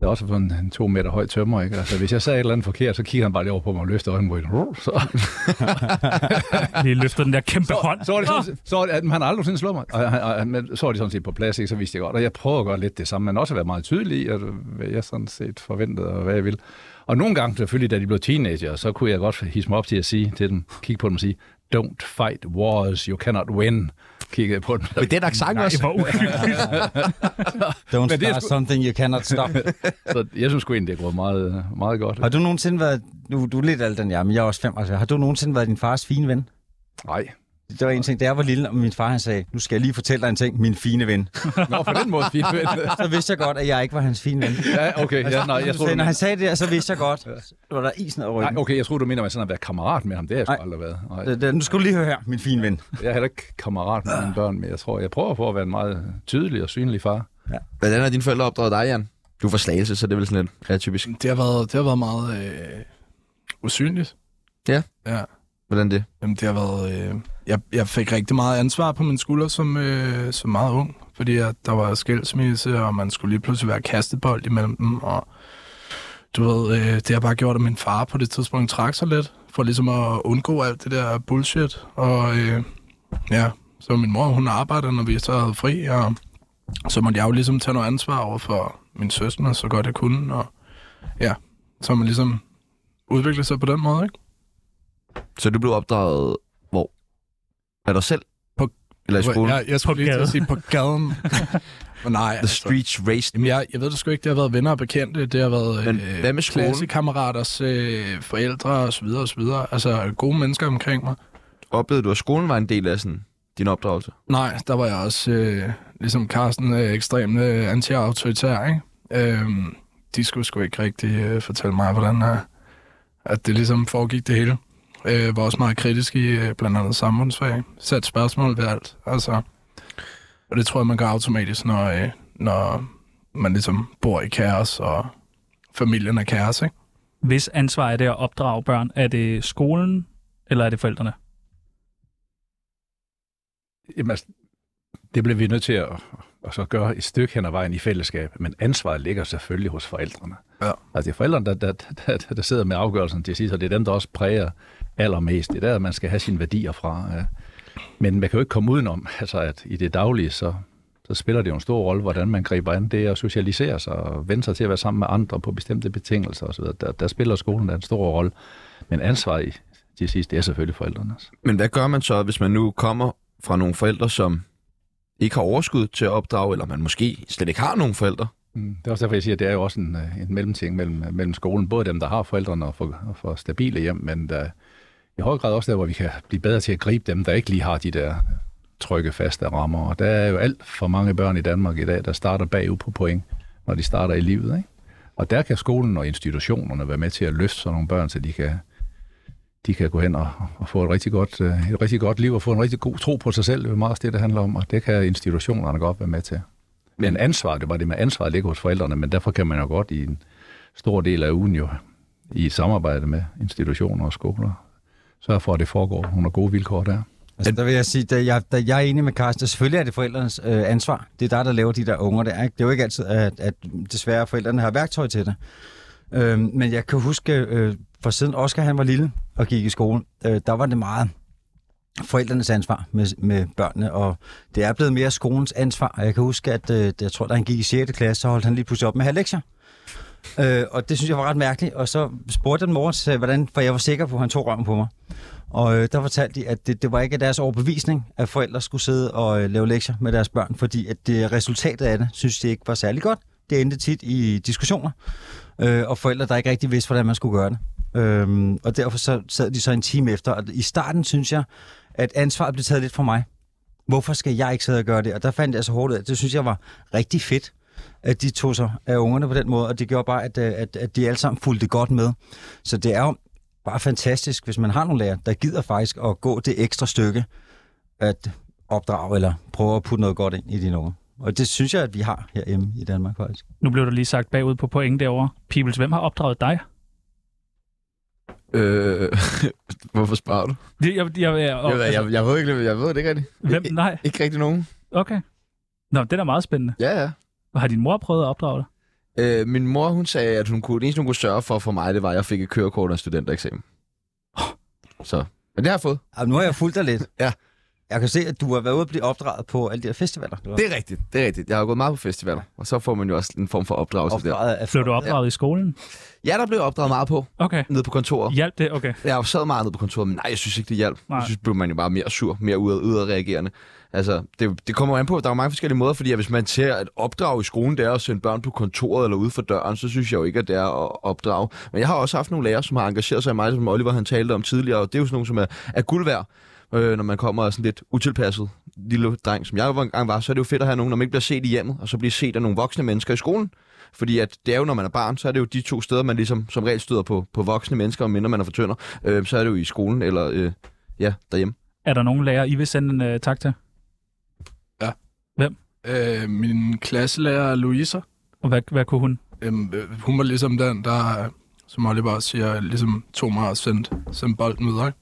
S5: der også har fået en, en to meter høj tømmer. Ikke? Altså, hvis jeg sagde et eller andet forkert, så kiggede han bare lige over på mig og løftede øjenbrynet. Ruh, Så,
S2: Lige løfter den der kæmpe hånd.
S5: så var det sådan, så var det, at han har aldrig nogensinde slået mig. Og, han- og, han- men så var det sådan set på plads, ikke? så vidste jeg godt. Og jeg prøvede at gøre lidt det samme, men også at være meget tydelig i, at hvad jeg sådan set forventede og hvad jeg ville. Og nogle gange selvfølgelig, da de blev teenager, så kunne jeg godt hisse mig op til at sige til dem, kigge på dem og sige, don't fight wars, you cannot win. Kiggede jeg på dem.
S1: Med den accent
S2: Nej,
S1: også?
S2: hvor uhyggeligt.
S3: Don't
S5: det er
S3: start
S5: sgu-
S3: something you cannot stop.
S5: Så jeg synes sgu egentlig, det er gået meget, meget godt.
S3: Har du nogensinde været, nu du er lidt ældre end jeg, men jeg er også 75, har du nogensinde været din fars fine ven?
S5: Nej.
S3: Det var en ting, da jeg var lille, og min far han sagde, nu skal jeg lige fortælle dig en ting, min fine ven.
S5: Nå, på den måde, fint.
S3: Så vidste jeg godt, at jeg ikke var hans fine ven.
S5: Ja, okay. Ja, nej, jeg tror,
S3: så, når Altså,
S5: du
S3: han
S5: mener,
S3: sagde det der, så vidste jeg godt, at der var der isen og
S5: nej,
S3: ryggen.
S5: okay, jeg tror, du mener, at jeg sådan har været kammerat med ham. Det har jeg sgu
S3: Nej.
S5: aldrig været. Nej.
S3: Det- det- øh, Nu skal du lige høre her, min fine ven.
S5: Jeg er heller ikke kammerat med mine børn, men jeg tror, jeg prøver på at være en meget tydelig og synlig far.
S1: Hvordan har dine forældre opdraget dig, Jan? Du er fra Slagelse, så det er vel sådan lidt atypisk.
S6: Det har været, det har været meget øh, usynligt.
S1: Hvordan det?
S6: Jamen, det har været... Øh, jeg, jeg fik rigtig meget ansvar på mine skuldre som, øh, som meget ung, fordi at der var skilsmisse, og man skulle lige pludselig være kastebold imellem dem, og du ved, øh, det har bare gjort, at min far på det tidspunkt trak sig lidt, for ligesom at undgå alt det der bullshit, og øh, ja, Så min mor, hun arbejder, når vi så havde fri, og så måtte jeg jo ligesom tage noget ansvar over for min søster, så godt jeg kunne, og ja, så har man ligesom udviklet sig på den måde, ikke?
S7: Så du blev opdraget hvor? Af dig selv?
S6: På-
S7: Eller i skolen?
S6: Jeg, jeg skulle lige til
S2: gaden.
S6: at sige på gaden. Men nej, altså,
S7: The streets raced.
S6: Jamen, jeg, jeg ved det sgu ikke. Det har været venner og bekendte. Det har været
S7: Men hvad med skolen?
S6: klassekammeraters øh, forældre og så videre og så videre. Altså gode mennesker omkring mig.
S1: Oplevede du, at skolen var en del af sådan, din opdragelse?
S6: Nej, der var jeg også, øh, ligesom Carsten, øh, ekstremt øh, anti-autoritær, ikke? Øhm, de skulle sgu ikke rigtig øh, fortælle mig, hvordan øh, at det ligesom foregik det hele. Øh, var også meget kritisk i øh, blandt andet samfundsfag. Sat spørgsmål ved alt, altså. Og det tror jeg, man gør automatisk, når, øh, når man ligesom bor i kaos, og familien er kaos, ikke?
S2: Hvis ansvar er det at opdrage børn, er det skolen, eller er det forældrene?
S5: Jamen, altså, det bliver vi nødt til at, at så gøre et stykke hen ad vejen i fællesskab, men ansvaret ligger selvfølgelig hos forældrene.
S6: Ja.
S5: Altså, det er forældrene, der, der, der, der, der sidder med afgørelsen til sidst, og det er dem, der også præger allermest. Det er der, man skal have sine værdier fra. Ja. Men man kan jo ikke komme udenom, altså, at i det daglige, så, så spiller det jo en stor rolle, hvordan man griber an det at socialisere sig og vende sig til at være sammen med andre på bestemte betingelser osv. Der, der spiller skolen da en stor rolle, men ansvaret i, til sidst, det er selvfølgelig forældrenes.
S1: Men hvad gør man så, hvis man nu kommer fra nogle forældre, som ikke har overskud til at opdrage, eller man måske slet ikke har nogen forældre?
S5: Mm, Det er også derfor, jeg siger, at det er jo også en, øh, en mellemting mellem, mellem skolen. Både dem, der har forældrene og for, og for stabile hjem, men der, i høj grad også der, hvor vi kan blive bedre til at gribe dem, der ikke lige har de der trygge, faste rammer. Og der er jo alt for mange børn i Danmark i dag, der starter bagud på point, når de starter i livet. Ikke? Og der kan skolen og institutionerne være med til at løfte sådan nogle børn, så de kan, de kan gå hen og, og få et rigtig, godt, øh, et rigtig godt liv og få en rigtig god tro på sig selv. Det er jo meget også det, det handler om, og det kan institutionerne godt være med til. Men ansvar, det var det med ansvar ligger hos forældrene, men derfor kan man jo godt i en stor del af ugen jo i et samarbejde med institutioner og skoler sørge for, at det foregår under gode vilkår der.
S3: Altså, der vil jeg sige, da jeg, da jeg er enig med Carsten, selvfølgelig er det forældrenes øh, ansvar. Det er dig, der laver de der unger der. Ikke? Det er jo ikke altid, at, at desværre forældrene har værktøj til det. Øh, men jeg kan huske, øh, for siden Oscar han var lille og gik i skole, øh, der var det meget forældrenes ansvar med, med børnene, og det er blevet mere skolens ansvar. Og Jeg kan huske, at øh, jeg tror, da han gik i 6. klasse, så holdt han lige pludselig op med at have lektier. Øh, og det synes jeg var ret mærkeligt, og så spurgte jeg dem over, så sagde jeg, hvordan, for jeg var sikker på, at han tog røven på mig. Og øh, der fortalte de, at det, det var ikke deres overbevisning, at forældre skulle sidde og øh, lave lektier med deres børn, fordi at det, resultatet af det, synes de ikke var særlig godt. Det endte tit i diskussioner, øh, og forældre, der ikke rigtig vidste, hvordan man skulle gøre det. Øhm, og derfor så sad de så en time efter, og i starten synes jeg, at ansvaret blev taget lidt fra mig. Hvorfor skal jeg ikke sidde og gøre det? Og der fandt jeg så hårdt ud af, det synes jeg var rigtig fedt, at de tog sig af ungerne på den måde, og det gjorde bare, at, øh, at, at de alle sammen fulgte godt med. Så det er jo bare fantastisk, hvis man har nogle lærer, der gider faktisk at gå det ekstra stykke at opdrage eller prøve at putte noget godt ind i dine unge. Og det synes jeg, at vi har herhjemme i Danmark faktisk.
S2: Nu blev der lige sagt bagud på point derovre. Pibels, hvem har opdraget dig?
S9: Øh, hvorfor spørger du?
S2: Det, jeg, jeg, jeg, og,
S9: Jeg, ved- jeg, jeg, ved ikke, jeg ved det ikke rigtigt.
S2: hvem? Nej,
S9: Ikke rigtig nogen.
S2: okay. Nå, det er da meget spændende.
S9: Ja, ja.
S2: Har din mor prøvet at opdrage dig?
S9: Øh, min mor, hun sagde, at hun kunne, det eneste, hun kunne sørge for for mig, det var, at jeg fik et kørekort og en studentereksamen. Så. Men det har jeg fået.
S3: Altså, nu har jeg fulgt dig lidt.
S9: Ja.
S3: Jeg kan se, at du har været ude at blive opdraget på alle de her festivaler. Du har
S9: Det er rigtigt. Det er rigtigt. Jeg har gået meget på festivaler, og så får man jo også en form for opdragelse der.
S3: opdraget af
S2: Blev du opdraget i skolen?
S9: Ja, der blev jeg opdraget meget på,
S2: Okay.
S9: nede på kontoret.
S2: Hjalp det? Okay.
S9: Jeg sad meget nede på kontoret, men nej, jeg synes ikke, det hjalp.
S2: Nej.
S9: Jeg synes, blev man jo bare mere sur, mere ud udadreagerende. Altså, det, det kommer jo an på, at der er jo mange forskellige måder, fordi at hvis man ser at opdrage i skolen, det er at sende børn på kontoret eller ude for døren, så synes jeg jo ikke, at det er at opdrage. Men jeg har også haft nogle lærere, som har engageret sig i mig, som Oliver han talte om tidligere, og det er jo sådan nogle, som er, er guld værd. Øh, når man kommer og er sådan lidt utilpasset lille dreng, som jeg jo engang var, så er det jo fedt at have nogen, når man ikke bliver set i hjemmet, og så bliver set af nogle voksne mennesker i skolen. Fordi at det er jo, når man er barn, så er det jo de to steder, man ligesom som regel støder på, på voksne mennesker, mindre man er for tønder. Øh, så er det jo i skolen eller øh, ja, derhjemme.
S2: Er der nogen lærer, I vil sende en uh, tak til?
S6: Øh, min klasselærer, Louisa,
S2: Og hvad, hvad kunne hun?
S6: Øhm, øh, hun var ligesom den, der, øh, som Oliver også siger, ligesom tog mig og sendte, sendte bolden videre. ikke?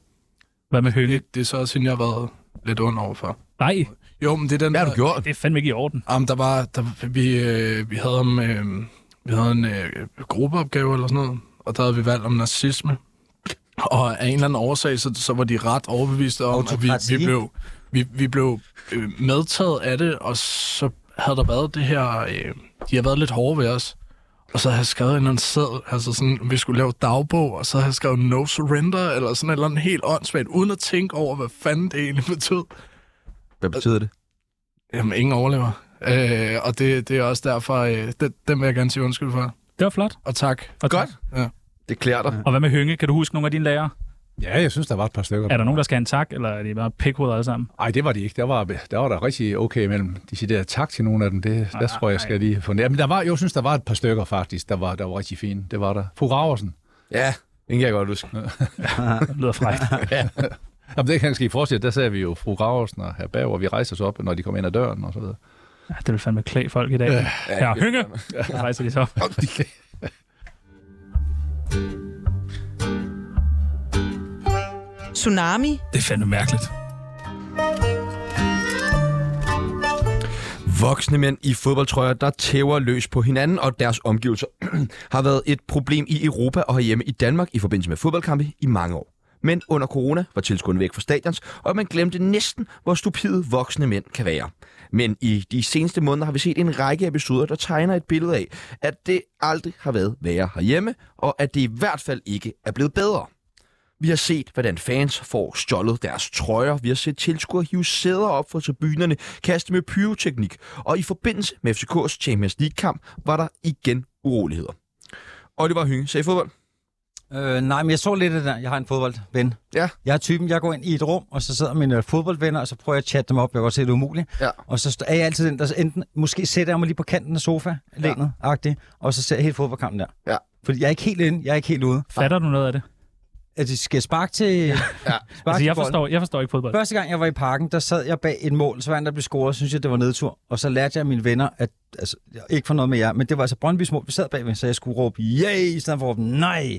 S2: Hvad med Hønge?
S6: Det, det er så også hende, jeg har været lidt under overfor.
S2: Nej,
S6: Jo, men det er den
S9: Hvad
S6: der...
S9: har du gjort?
S2: det er fandme ikke i orden.
S6: Jamen, der var... Der, vi, øh, vi havde, om, øh, vi havde en øh, gruppeopgave eller sådan noget, og der havde vi valgt om nazisme. Og af en eller anden årsag, så, så var de ret overbeviste om, at vi,
S3: Autokrati.
S6: vi blev vi, vi blev øh, medtaget af det, og så havde der været det her... Øh, de har været lidt hårde ved os. Og så har jeg skrevet en eller anden seddel, altså sådan, vi skulle lave dagbog, og så har jeg skrevet no surrender, eller sådan et eller andet helt åndssvagt, uden at tænke over, hvad fanden det egentlig betød.
S9: Hvad betyder det?
S6: Jamen, ingen overlever. Øh, og det, det er også derfor, øh, den, den vil jeg gerne sige undskyld for.
S2: Det var flot.
S6: Og tak.
S2: Og
S9: Godt.
S6: Ja.
S9: Det klæder dig.
S2: Og hvad med Hønge? Kan du huske nogle af dine lærere?
S5: Ja, jeg synes, der var et par stykker.
S2: Er der nogen, der skal have en tak, eller er de bare pikhoveder alle sammen?
S5: Nej, det var de ikke. Der var der, var der rigtig okay imellem. De siger, der tak til nogle af dem. Det, der tror jeg, skal lige få Men der var, jeg synes, der var et par stykker faktisk, der var, der var rigtig fine. Det var der. Fru Raversen.
S9: Ja,
S5: Ingen kan jeg godt huske.
S2: Det lyder frækt.
S5: Jamen, det kan jeg ske fortsætte. Der sagde vi jo fru Raversen og herr Bauer, vi rejste os op, når de kom ind ad døren og så videre.
S2: Ja, det vil fandme klæde folk i dag. Ja, ja Hønge! Så rejser de så op.
S10: Tsunami.
S2: Det er fandme mærkeligt.
S1: Voksne mænd i fodboldtrøjer, der tæver løs på hinanden og deres omgivelser, har været et problem i Europa og herhjemme i Danmark i forbindelse med fodboldkampe i mange år. Men under corona var tilskuerne væk fra stadions, og man glemte næsten, hvor stupide voksne mænd kan være. Men i de seneste måneder har vi set en række episoder, der tegner et billede af, at det aldrig har været værre herhjemme, og at det i hvert fald ikke er blevet bedre. Vi har set, hvordan fans får stjålet deres trøjer. Vi har set tilskuere hive sæder op fra tribunerne, kaste med pyroteknik. Og i forbindelse med FCK's Champions League-kamp var der igen uroligheder. Oliver Hynge sagde fodbold.
S3: Øh, nej, men jeg så lidt af det der. Jeg har en fodboldven.
S1: Ja.
S3: Jeg er typen, jeg går ind i et rum, og så sidder mine øh, fodboldvenner, og så prøver jeg at chatte dem op. Jeg kan godt se, det er umuligt.
S1: Ja.
S3: Og så st- er jeg altid den, der så enten, måske sætter jeg mig lige på kanten af sofa, lænet agtigt og så ser jeg hele fodboldkampen der.
S1: Ja.
S3: Fordi jeg er ikke helt inde, jeg er ikke helt ude.
S2: Fatter du noget af det?
S3: At de skal sparke til... Ja. Spark
S2: Altså,
S3: til
S2: jeg
S3: bolden.
S2: forstår, jeg forstår ikke fodbold.
S3: Første gang, jeg var i parken, der sad jeg bag et mål, så var en, der blev scoret, og synes jeg, det var nedtur. Og så lærte jeg mine venner, at altså, jeg- ikke for noget med jer, men det var altså Brøndby's mål, vi sad bagved, så jeg skulle råbe, yay, i stedet for at råbe, nej.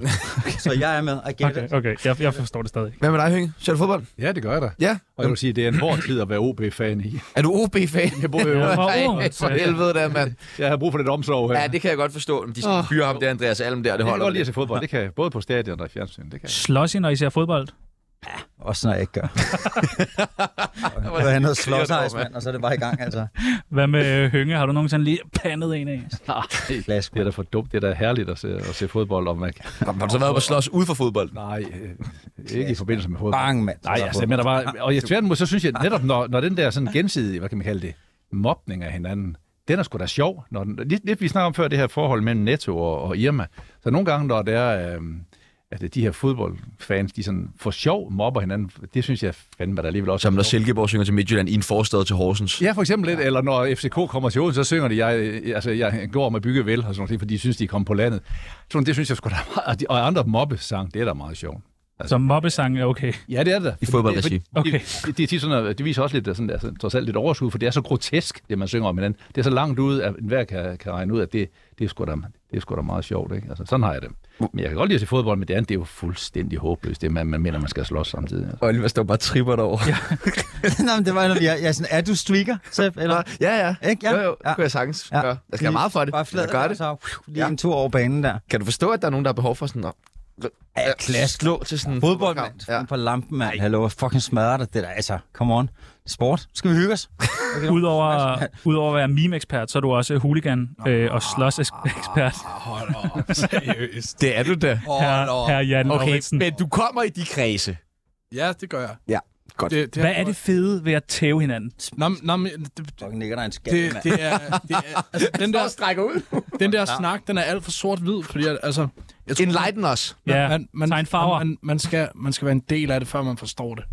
S3: så jeg er med, I get okay.
S2: Okay,
S3: it.
S2: okay. Jeg, jeg forstår det stadig ikke.
S1: Hvad med dig, Hynge? Ser du fodbold?
S5: Ja, det gør jeg da.
S1: Ja.
S5: Og jeg vil sige, det er en hård tid at være OB-fan i.
S1: Er du OB-fan?
S5: Jeg, bor, jo-
S2: Fra
S1: Nej,
S2: Odense.
S1: for helvede da, mand.
S5: jeg har brug for lidt omsorg her.
S1: Ja, det kan jeg godt forstå. De skal fyre ham der, Andreas Alm der, det
S5: jeg kan
S1: holder.
S5: godt lide at se fodbold. Det kan jeg. Både på stadion og i fjernsynet. Det kan jeg.
S2: Slås I, når I ser fodbold?
S3: Også når jeg ikke gør. Og det var noget slåsejs, mand, og så er det bare i gang, altså.
S2: Hvad med øh, Hønge? Har du nogensinde lige pandet en af?
S3: Flask.
S5: Det er da for dumt. Det er da herligt at se, at se fodbold. Og man,
S1: Har du så været på slås ude for fodbold?
S5: nej, øh, ikke i forbindelse med fodbold.
S3: Bang, mand.
S5: Nej, altså, men der var, og jeg tværtimod, så synes jeg netop, når, når den der sådan gensidige, hvad kan man kalde det, mobning af hinanden, den er sgu da sjov. Når den, lidt, lidt, vi snakker om før det her forhold mellem Netto og, og Irma. Så nogle gange, når det er, øh, at de her fodboldfans, de sådan for sjov mobber hinanden, det synes jeg fandme, at der alligevel også
S9: Som når
S5: sjovt.
S9: Silkeborg synger til Midtjylland i en forstad til Horsens.
S5: Ja, for eksempel lidt, eller når FCK kommer til Odense, så synger de, jeg, øh, altså, jeg går om at bygge vel, og sådan noget, fordi de synes, de kom på landet. Sådan, det synes jeg sgu da meget, og, de, og andre mobbesang, det er da meget sjovt.
S2: Så mobbesang er okay.
S5: Ja, det er det da.
S9: I fodboldregi.
S5: Det, okay. det, det, det, er tit sådan, at det viser også lidt, der sådan, der, sådan, trods alt lidt overskud, for det er så grotesk, det man synger om hinanden. Det er så langt ude, at enhver kan, kan regne ud, at det, det, er sgu da, det er sgu da meget sjovt. Ikke? Altså, sådan har jeg det. Men jeg kan godt lide at se fodbold, men det andet, det er jo fuldstændig håbløst, det man, man mener, man skal slås samtidig. Altså.
S9: Oliver står bare og tripper derovre. Ja,
S3: Nå, men det var, jeg, jeg er sådan, er du streaker, Sepp, eller?
S9: ja. ja.
S3: Ikke? Ja.
S9: Jo, jo,
S3: Ja.
S9: det kunne jeg sagtens
S3: Ja.
S9: ja. gøre. Jeg skal have meget for det.
S3: Bare flad,
S9: jeg gør det.
S3: Så, phew, lige
S9: Ja.
S3: en tur over banen der.
S9: Kan du forstå, at der er nogen, der har behov for sådan at
S3: Ja,
S9: at slå til sådan en
S3: Fodbold,
S9: fodboldkamp?
S3: mand.
S9: Ja.
S3: Ja. på lampen, mand. Hallo, fucking smadrer dig. Det der, altså, come on. Sport. Skal vi hygge os?
S2: Udover, udover at være meme-ekspert, så er du også huligan øh, og slås-ekspert.
S6: Hold op, seriøst.
S9: Det er du da.
S2: Her, her Jan
S9: Okay,
S2: Lauritsen.
S9: men du kommer i de kredse.
S6: Ja, det gør jeg.
S9: Ja, godt.
S6: Det, det
S2: Hvad er det fede ved at tæve hinanden?
S6: Nå, men- nå, men det,
S3: Fucking nikker der en skat,
S6: det,
S3: mand.
S6: det er... Det er altså, den der strækker ud. den der snak, den er alt for sort-hvid, fordi at, altså... Jeg tror,
S9: Enlighten os.
S2: Ja,
S6: man, man,
S2: tegn farver.
S6: man, man, skal, man skal være en del af det, før man forstår det.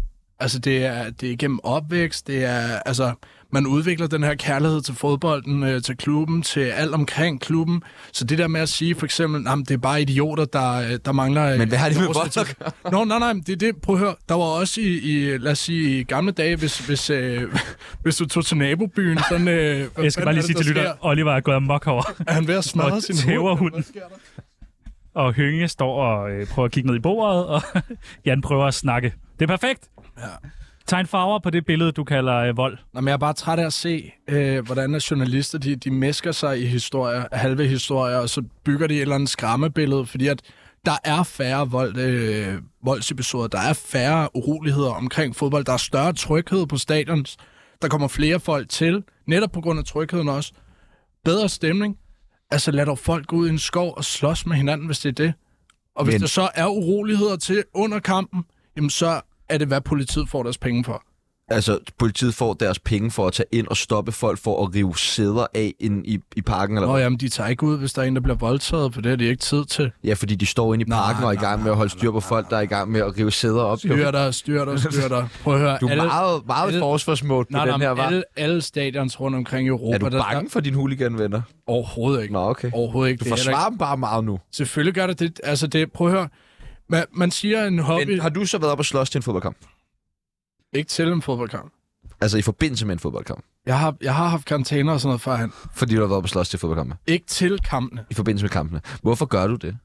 S6: Altså, det er, det er igennem opvækst, det er... Altså, man udvikler den her kærlighed til fodbolden, øh, til klubben, til alt omkring klubben. Så det der med at sige for eksempel, at det er bare idioter, der, øh, der mangler... øh,
S9: Men hvad har det med
S6: overskud
S9: vold
S6: til-
S9: at
S6: Nå, nej, nej, men det er det. Prøv at høre. Der var også i, i lad os sige, i gamle dage, hvis, hvis, øh, hvis du tog til nabobyen, sådan... Øh, hvad
S2: Jeg skal
S6: fanden
S2: bare
S6: er
S2: lige
S6: det,
S2: sige
S6: der
S2: til lytter,
S6: sker?
S2: Oliver er gået amok over
S6: Er han ved at smadre
S2: og
S6: sin
S2: tæver
S6: hund?
S2: hunden. Og Hønge står og øh, prøver at kigge ned i bordet, og Jan prøver at snakke. Det er perfekt! Tegn farver på det billede, du kalder øh, vold.
S6: Nå, men jeg er bare træt af at se, øh, hvordan at journalister de, de mesker sig i historier, halve historier, og så bygger de et eller andet skræmmebillede, fordi at der er færre vold, øh, voldsepisoder, der er færre uroligheder omkring fodbold, der er større tryghed på stadions, der kommer flere folk til, netop på grund af trygheden også. Bedre stemning. Altså lad dog folk gå ud i en skov og slås med hinanden, hvis det er det. Og hvis Men... der så er uroligheder til under kampen, jamen så er det, hvad politiet får deres penge for.
S1: Altså, politiet får deres penge for at tage ind og stoppe folk for at rive sæder af ind i, i parken? Eller
S6: Nå
S1: hvad?
S6: jamen, de tager ikke ud, hvis der er en, der bliver voldtaget, for det har de ikke tid til.
S1: Ja, fordi de står inde i parken og er i gang med at holde styr på folk, der er i gang med at rive sæder op. jo.
S6: Styr dig, styr dig, styr dig. Prøv at høre.
S1: Du er meget, meget
S6: alle-
S1: forsvarsmål på
S6: nej,
S1: den her
S6: nej,
S1: var.
S6: alle, alle stadions rundt omkring i Europa.
S1: Er du
S6: der-
S1: bange for dine hooliganvenner?
S6: Der, overhovedet ikke.
S1: Nå, okay.
S6: Overhovedet ikke.
S1: Du
S6: Det er heller
S1: forsvarer dem bare meget nu.
S6: ikke- Selvfølgelig gør det det. Altså, det, prøv at høre. Man, man siger en hobby,
S1: Men
S6: Men,
S1: har du så været op og slås til en fodboldkamp?
S6: ikke til en fodboldkamp.
S1: Altså i forbindelse med en fodboldkamp?
S6: Jeg har, jeg har haft karantæner og sådan noget førhen.
S1: Fordi du har været op og slås til fodboldkampe?
S6: Ikke til kampene.
S1: I forbindelse med kampene. Hvorfor gør du det?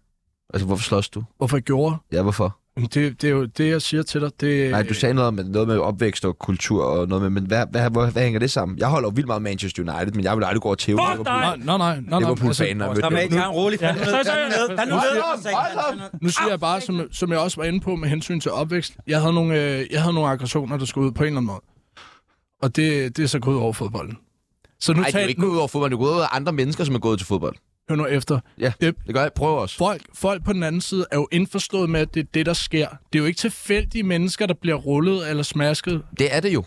S1: Altså, hvorfor slås du?
S6: Hvorfor jeg gjorde?
S1: Ja, hvorfor?
S6: Jamen, Det, det er jo det, jeg siger til dig. Det,
S1: Nej, du sagde noget med, noget med opvækst og kultur og noget med, men hvad, hvad, hvad, hvad hænger det sammen? Jeg holder jo vildt meget Manchester United, men jeg vil aldrig gå og tæve
S2: Fuck
S1: Liverpool.
S2: dig!
S6: Nej, nej, nej. nej, Altså, nej
S1: Liverpool-fanen er mødt
S3: Der er med, jeg er en rolig fanden.
S2: Ja. Så- så-
S3: Der er nu med.
S6: Nu siger jeg bare, som, som jeg også var inde på med hensyn til opvækst, jeg havde nogle, øh, jeg havde nogle aggressioner, der skulle ud på en eller anden måde. Og det, det er så gået over fodbolden. Så nu
S1: Nej, det er jo
S6: tager
S1: ikke gået ud over fodbold, det er gået ud over andre mennesker, som er gået til fodbold.
S6: hør nu efter.
S1: Ja,
S6: Det-
S1: det gør jeg. Prøv også.
S6: Folk, folk på den anden side er jo indforstået med, at det er det, der sker. Det er jo ikke tilfældige mennesker, der bliver rullet eller smasket.
S1: Det er det jo.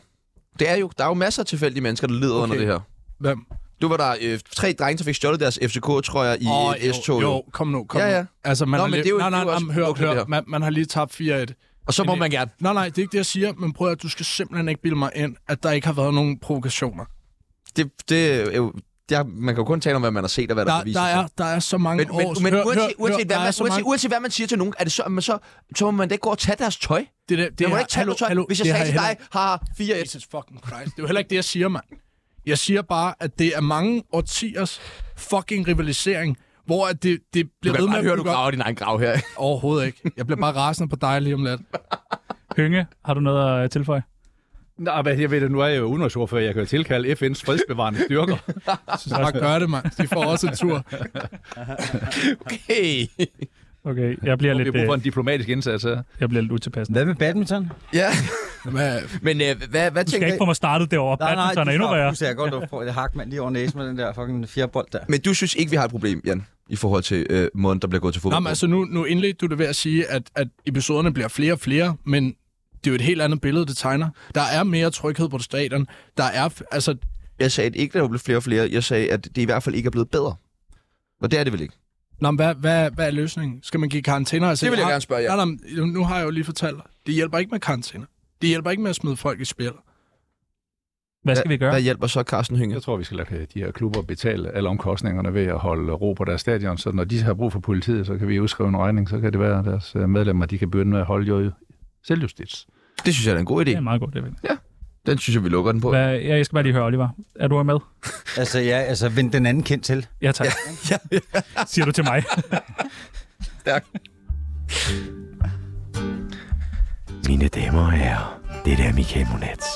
S1: Det er jo. Der er jo masser af tilfældige mennesker, der lider okay. under det her.
S6: Hvem?
S1: Du var der øh, tre drenge, der fik stjålet deres FCK-trøjer i
S6: Åh,
S1: oh, et S-tog.
S6: Jo,
S1: jo.
S6: jo, kom nu, kom
S1: Ja, ja.
S6: nu. Altså, man
S1: Nå,
S6: har
S1: men
S6: lige...
S1: det er jo-
S6: nej,
S1: det
S6: nej,
S1: er jo også
S6: nej, hør,
S1: okay, det her.
S6: hør. Man, man har lige tabt 4-1.
S1: Og så må
S6: Men det-
S1: man gerne.
S6: Nej, nej, det er ikke det, jeg siger, men prøv at du skal simpelthen ikke bilde mig ind, at der ikke har været nogen provokationer.
S1: Det, det, er jo- det er, man kan jo kun tale om, hvad man har set og hvad der,
S6: Der,
S1: der
S6: der, er, der er så mange
S1: Men, men,
S6: års...
S1: men
S6: hør,
S1: uanset,
S6: hør,
S1: uanset, hvad
S6: hør, der er
S1: man,
S6: så
S1: uanset,
S6: mange-
S1: uanset hvad man siger til nogen, er det så, men så, så må man da ikke gå og tage deres tøj. Det
S6: Det, der, det
S1: man må
S6: her-
S1: da ikke tage
S6: hallo,
S1: deres tøj.
S6: hallo,
S1: Hvis jeg
S6: det
S1: sagde
S6: her
S1: til
S6: heller
S1: dig, har
S6: ikke-
S1: 4
S6: Jesus fucking Christ. Det er jo heller ikke det, jeg siger, mand. Jeg siger bare, at det er mange årtiers fucking rivalisering, hvor at det, det bliver ved med at bygge op.
S1: din egen grav her.
S6: Overhovedet ikke. Jeg bliver bare rasende på dig lige om lidt.
S2: Hynge, har du noget at tilføje?
S5: Nå, hvad, jeg ved det, nu er jeg jo udenrigsordfører, jeg kan jo tilkalde FN's fredsbevarende styrker.
S6: Så bare gør det, mand. De får også en tur.
S1: Hey.
S2: Okay, jeg bliver,
S5: Vi har
S2: lidt,
S5: brug for
S2: øh,
S5: en diplomatisk indsats her.
S2: jeg bliver lidt utilpas.
S3: Hvad med badminton?
S1: Ja,
S6: Hvad,
S1: men øh, hvad, hvad
S2: Du skal
S1: tænker
S2: ikke få mig startet derovre. Badminton er endnu værre.
S3: Du ser godt, du får et hak mand lige over næsen med den der fucking firebold der.
S1: Men du synes ikke, vi har et problem, Jan, i forhold til øh, måden, der bliver gået til fodbold?
S6: Nå, men altså nu, nu indledte du det ved at sige, at, at episoderne bliver flere og flere, men det er jo et helt andet billede, det tegner. Der er mere tryghed på stadion. Der er, f- altså,
S1: Jeg sagde at ikke, at der blev flere og flere. Jeg sagde, at det i hvert fald ikke er blevet bedre. Og det er det vel ikke?
S6: Nå, men hvad, hvad, hvad er løsningen? Skal man give karantæner? Altså,
S1: Det vil jeg
S6: har-
S1: gerne spørge jer.
S6: Nej, nej, men nu har jeg jo lige fortalt dig. Det hjælper ikke med karantæner. Det hjælper ikke med at smide folk i spil.
S2: Hvad skal vi gøre?
S1: Hvad hjælper så Carsten Hynge?
S5: Jeg tror, vi skal lade øh, de her klubber betale alle omkostningerne ved at holde ro på deres stadion, så når de har brug for politiet, så kan vi udskrive en regning, så kan det være, at deres øh, medlemmer de kan begynde med at holde jo selvjustits.
S1: Det synes jeg er en god idé.
S2: Det er meget godt, det er vel.
S1: Den synes jeg, vi lukker den på.
S2: Hvad, ja, jeg skal bare lige høre, Oliver. Er du med?
S3: Altså, ja, altså, vend den anden kendt til.
S2: Ja, tak. Siger du til mig.
S7: Mine damer og herrer, det er Michael Monats.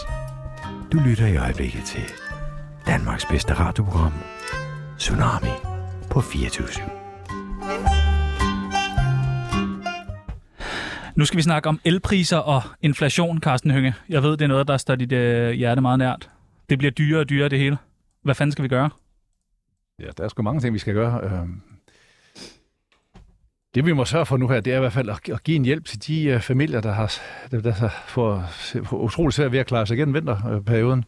S7: Du lytter i øjeblikket til Danmarks bedste radioprogram, Tsunami på 24
S2: Nu skal vi snakke om elpriser og inflation, Carsten Hynge. Jeg ved, det er noget, der står dit øh, hjerte meget nært. Det bliver dyrere og dyrere, det hele. Hvad fanden skal vi gøre?
S5: Ja, der er sgu mange ting, vi skal gøre. Øh, Det vi må sørge for nu her, det er i hvert fald at at give en hjælp til de øh, familier, der har der, der får får utrolig svært ved at klare sig igennem vinterperioden.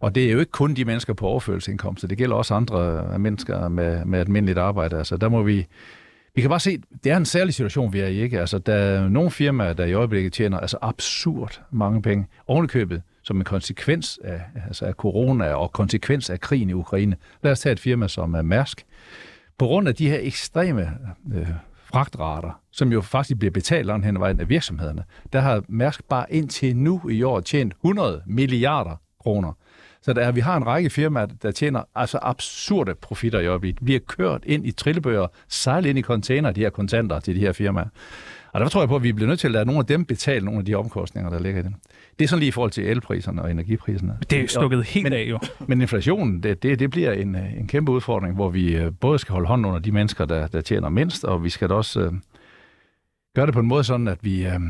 S5: Og det er jo ikke kun de mennesker på overførselsindkomster, det gælder også andre øh, mennesker med, med almindeligt arbejde. Altså, der må vi, vi kan bare se, det er en særlig situation, vi er i. Ikke? Altså, der er nogle firmaer, der i øjeblikket tjener altså absurd mange penge. Ovenikøbet som en konsekvens af, altså af corona og konsekvens af krigen i Ukraine. Lad os tage et firma som øh, Mærsk på grund af de her ekstreme øh, fragtrater, som jo faktisk bliver betalt langt hen ad vejen af virksomhederne, der har Mærsk bare indtil nu i år tjent 100 milliarder kroner. Så der, er- vi har en række firmaer, der tjener altså absurde profitter i øjeblikket. Bliver kørt ind i trillebøger, sejlet ind i container, de her kontanter til de her firmaer. Og der tror jeg på, at vi bliver nødt til at lade nogle af dem betale nogle af de omkostninger, der ligger i dem. Det er sådan lige i forhold til elpriserne og energipriserne.
S2: Det er jo stukket helt
S5: Men-
S2: af, jo.
S5: Men inflationen, det, det, det bliver en, øh, en kæmpe udfordring, hvor vi øh, både skal holde hånden under de mennesker, der, der tjener mindst, og vi skal da også øh, gøre det på en måde sådan, at vi, øh,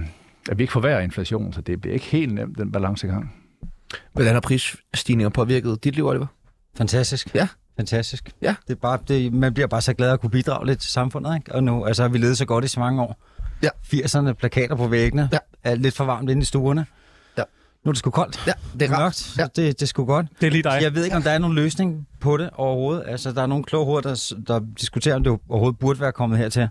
S5: at vi ikke forværrer inflationen, så det bliver ikke helt nemt, den balancegang.
S1: Hvordan har prisstigninger påvirket dit liv, Oliver?
S3: Fantastisk.
S1: Ja.
S3: Fantastisk.
S1: Ja.
S3: Det er bare, det, man bliver bare så glad at kunne bidrage lidt til samfundet, ikke? Og nu, altså, har vi levet så godt i så mange år.
S1: Ja.
S3: 80'erne, plakater på væggene.
S1: Ja.
S3: Alt lidt for varmt inde i stuerne.
S1: Ja.
S3: Nu er det sgu koldt.
S1: Ja,
S3: Det er mørkt. Ja. Det, det er sgu godt.
S2: Det er lige dig.
S3: Jeg ved ikke, om der er nogen løsning på det overhovedet. Altså, der er nogle kloge hoveder, der, s- der diskuterer, om det overhovedet burde være kommet hertil.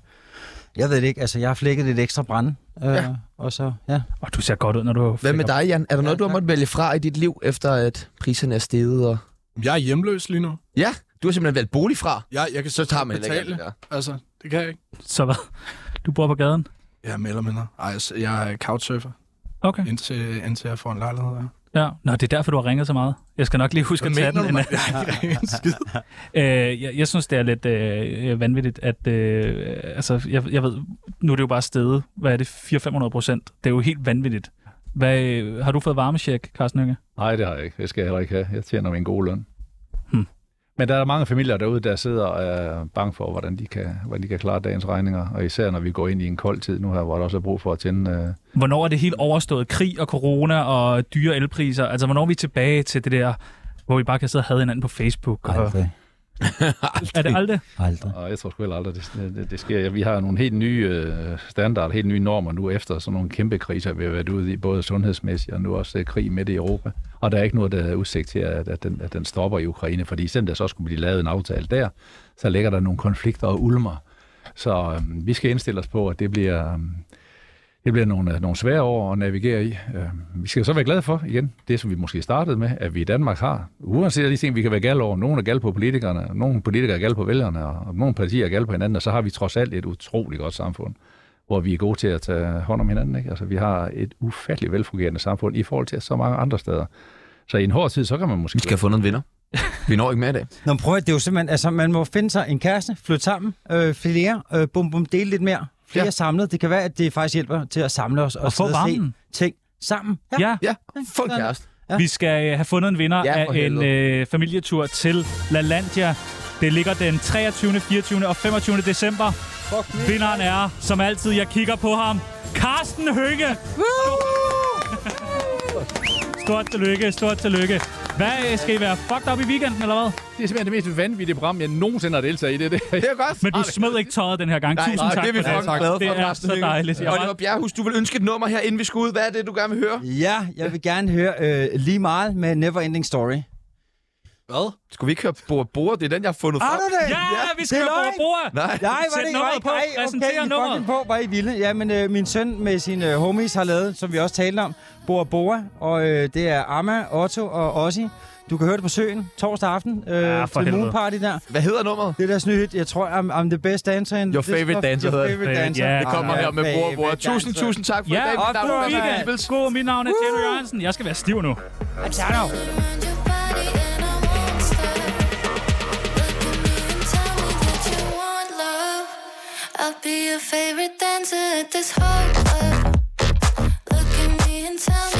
S3: Jeg ved det ikke. Altså, jeg har flækket lidt ekstra brænde. Øh, ja. Og så, ja.
S2: Og du ser godt ud, når du...
S1: Hvad med dig, Jan? Er der noget, du har
S3: tak.
S1: måttet vælge fra i dit liv, efter at priserne er steget? Og...
S6: Jeg er hjemløs lige nu.
S1: Ja, du har simpelthen valgt bolig fra.
S6: Jeg, jeg kan
S1: Så tager man heller ikke
S6: betale.
S1: alt det der.
S6: Altså, det kan jeg ikke.
S2: Så hvad? Du bor på gaden?
S6: Jeg er mere eller mindre. Ej, altså, jeg er couchsurfer,
S2: Okay.
S6: indtil, indtil jeg får en lejlighed. Der.
S2: Ja. Nå, det er derfor, du har ringet så meget. Jeg skal nok lige huske at tage den.
S6: du
S2: inden-
S6: mig? Nej, en skid.
S2: Øh, jeg, jeg synes, det er lidt øh, øh, vanvittigt, at... Øh, altså, jeg, jeg ved... Nu er det jo bare steget. Hvad er det? 400-500 procent. Det er jo helt vanvittigt. Hvad, øh, har du fået varmesjek, Carsten Hønge?
S5: Nej, det har jeg ikke. Det skal jeg heller ikke have. Jeg tjener min gode løn.
S2: Hmm.
S5: Men der er mange familier derude, der sidder og er bange for, hvordan de, kan, hvordan de kan klare dagens regninger. Og især når vi går ind i en kold tid nu her, hvor der også er brug for at tænde... Øh,
S2: Hvornår er det helt overstået? Krig og corona og dyre elpriser. Altså, hvornår er vi tilbage til det der, hvor vi bare kan sidde og have hinanden på Facebook? Og...
S3: Aldrig.
S2: Er det aldrig?
S3: Aldrig.
S5: Og jeg tror sgu heller aldrig, det, det, det sker. Vi har nogle helt nye øh, standarder, helt nye normer nu efter sådan nogle kæmpe kriser, vi har været ude i, både sundhedsmæssigt og nu også øh, krig midt i Europa. Og der er ikke noget, der er udsigt til, at, at, den, at den stopper i Ukraine, fordi selvom der så skulle blive lavet en aftale der, så ligger der nogle konflikter og ulmer. Så øh, vi skal indstille os på, at det bliver, øh, det bliver nogle, øh, nogle svære år at navigere i. Øh, vi skal så være glade for, igen, det som vi måske startede med, at vi i Danmark har, uanset af de ting, vi kan være gal over, nogle er gal på politikerne, nogle politikere er gal på vælgerne, og og nogle partier er gal på hinanden, og så har vi trods alt et utroligt godt samfund, hvor vi er gode til at tage hånd om hinanden. Ikke? Altså, vi har et ufatteligt velfungerende samfund i forhold til så mange andre steder. Så i en hård tid, så kan man måske...
S9: Vi skal have fundet en vinder. Vi når ikke med i dag.
S3: Nå, men prøv at, det er jo simpelthen, altså man må finde sig en kæreste, flytte sammen, øh, flere, øh, bum bum, dele lidt mere, flere ja. samlet. Det kan være, at det faktisk hjælper til at samle os og,
S2: Og få
S3: sidde og se
S2: varmen.
S3: ting sammen. Ja.
S2: Ja.
S9: Ja, fuck kæreste.
S2: Vi skal øh, have fundet en vinder
S9: Ja,
S2: ja,
S9: for
S2: af en øh, familietur til La Landia. Det ligger den 23., 24. og 25. december. Vinderen er, som altid, jeg kigger på ham, Carsten Hønge. Stort tillykke, stort tillykke. Hvad øh, skal I være fucked op i weekenden, eller hvad?
S5: Det er simpelthen det mest vanvittige program, jeg nogensinde har deltaget i det. det.
S9: Ah, Det er godt.
S2: Men du smed ikke tøjet den her gang. Tusind
S9: nej,
S2: tak
S9: det er vi
S2: for det.
S9: fucking glade for,
S2: Det er
S9: Carsten
S2: så
S9: Hønge.
S2: dejligt. Jeg
S9: Oliver
S2: var,
S9: Bjerghus, du vil ønske et nummer her, inden vi skal ud. Hvad er det, du gerne vil høre?
S3: ja, jeg vil gerne høre øh, lige meget med Neverending Story.
S9: Hvad? Skulle vi ikke høre Bora Bora? Det er den, jeg har fundet
S3: Har
S9: frem.
S3: du det?
S2: ja, vi skal
S3: Det er
S2: jo over
S3: løgn.
S2: bordet.
S9: Nej.
S3: Nej, var
S2: Sæt
S3: det ikke
S2: nummeret
S3: rigtigt?
S2: på.
S3: Ej,
S2: Præsenter
S3: okay, I
S2: nummeret.
S3: fucking på, var I vilde. Ja, men øh, min søn med sine øh, homies har lavet, som vi også talte om, Bora Bora, og øh, det er Amma, Otto og Ossi. Du kan høre det på søen torsdag aften øh,
S2: Ja, for
S3: til
S2: helvede.
S3: Moonparty der.
S9: Hvad hedder nummeret?
S3: Det er deres nye hit. Jeg tror, I'm, I'm the best dancer in
S9: Your
S3: this
S9: favorite
S3: stuff.
S9: dancer
S3: Your
S9: hedder det.
S3: favorite
S2: Det-
S3: dancer. Ah,
S2: ja.
S9: Det kommer her med Bora Bora.
S3: Favorite
S9: Tusind,
S3: dancer.
S9: tusind tak for
S2: Ja,
S9: i dag. Mit
S2: og
S9: navn
S3: god
S9: er Mads
S3: weekend.
S9: Ibels.
S2: God, mit navn er Tjerno Jørgensen. Jeg skal være stiv nu.
S11: I'll be your favorite dancer at this heart club. Look at me and tell me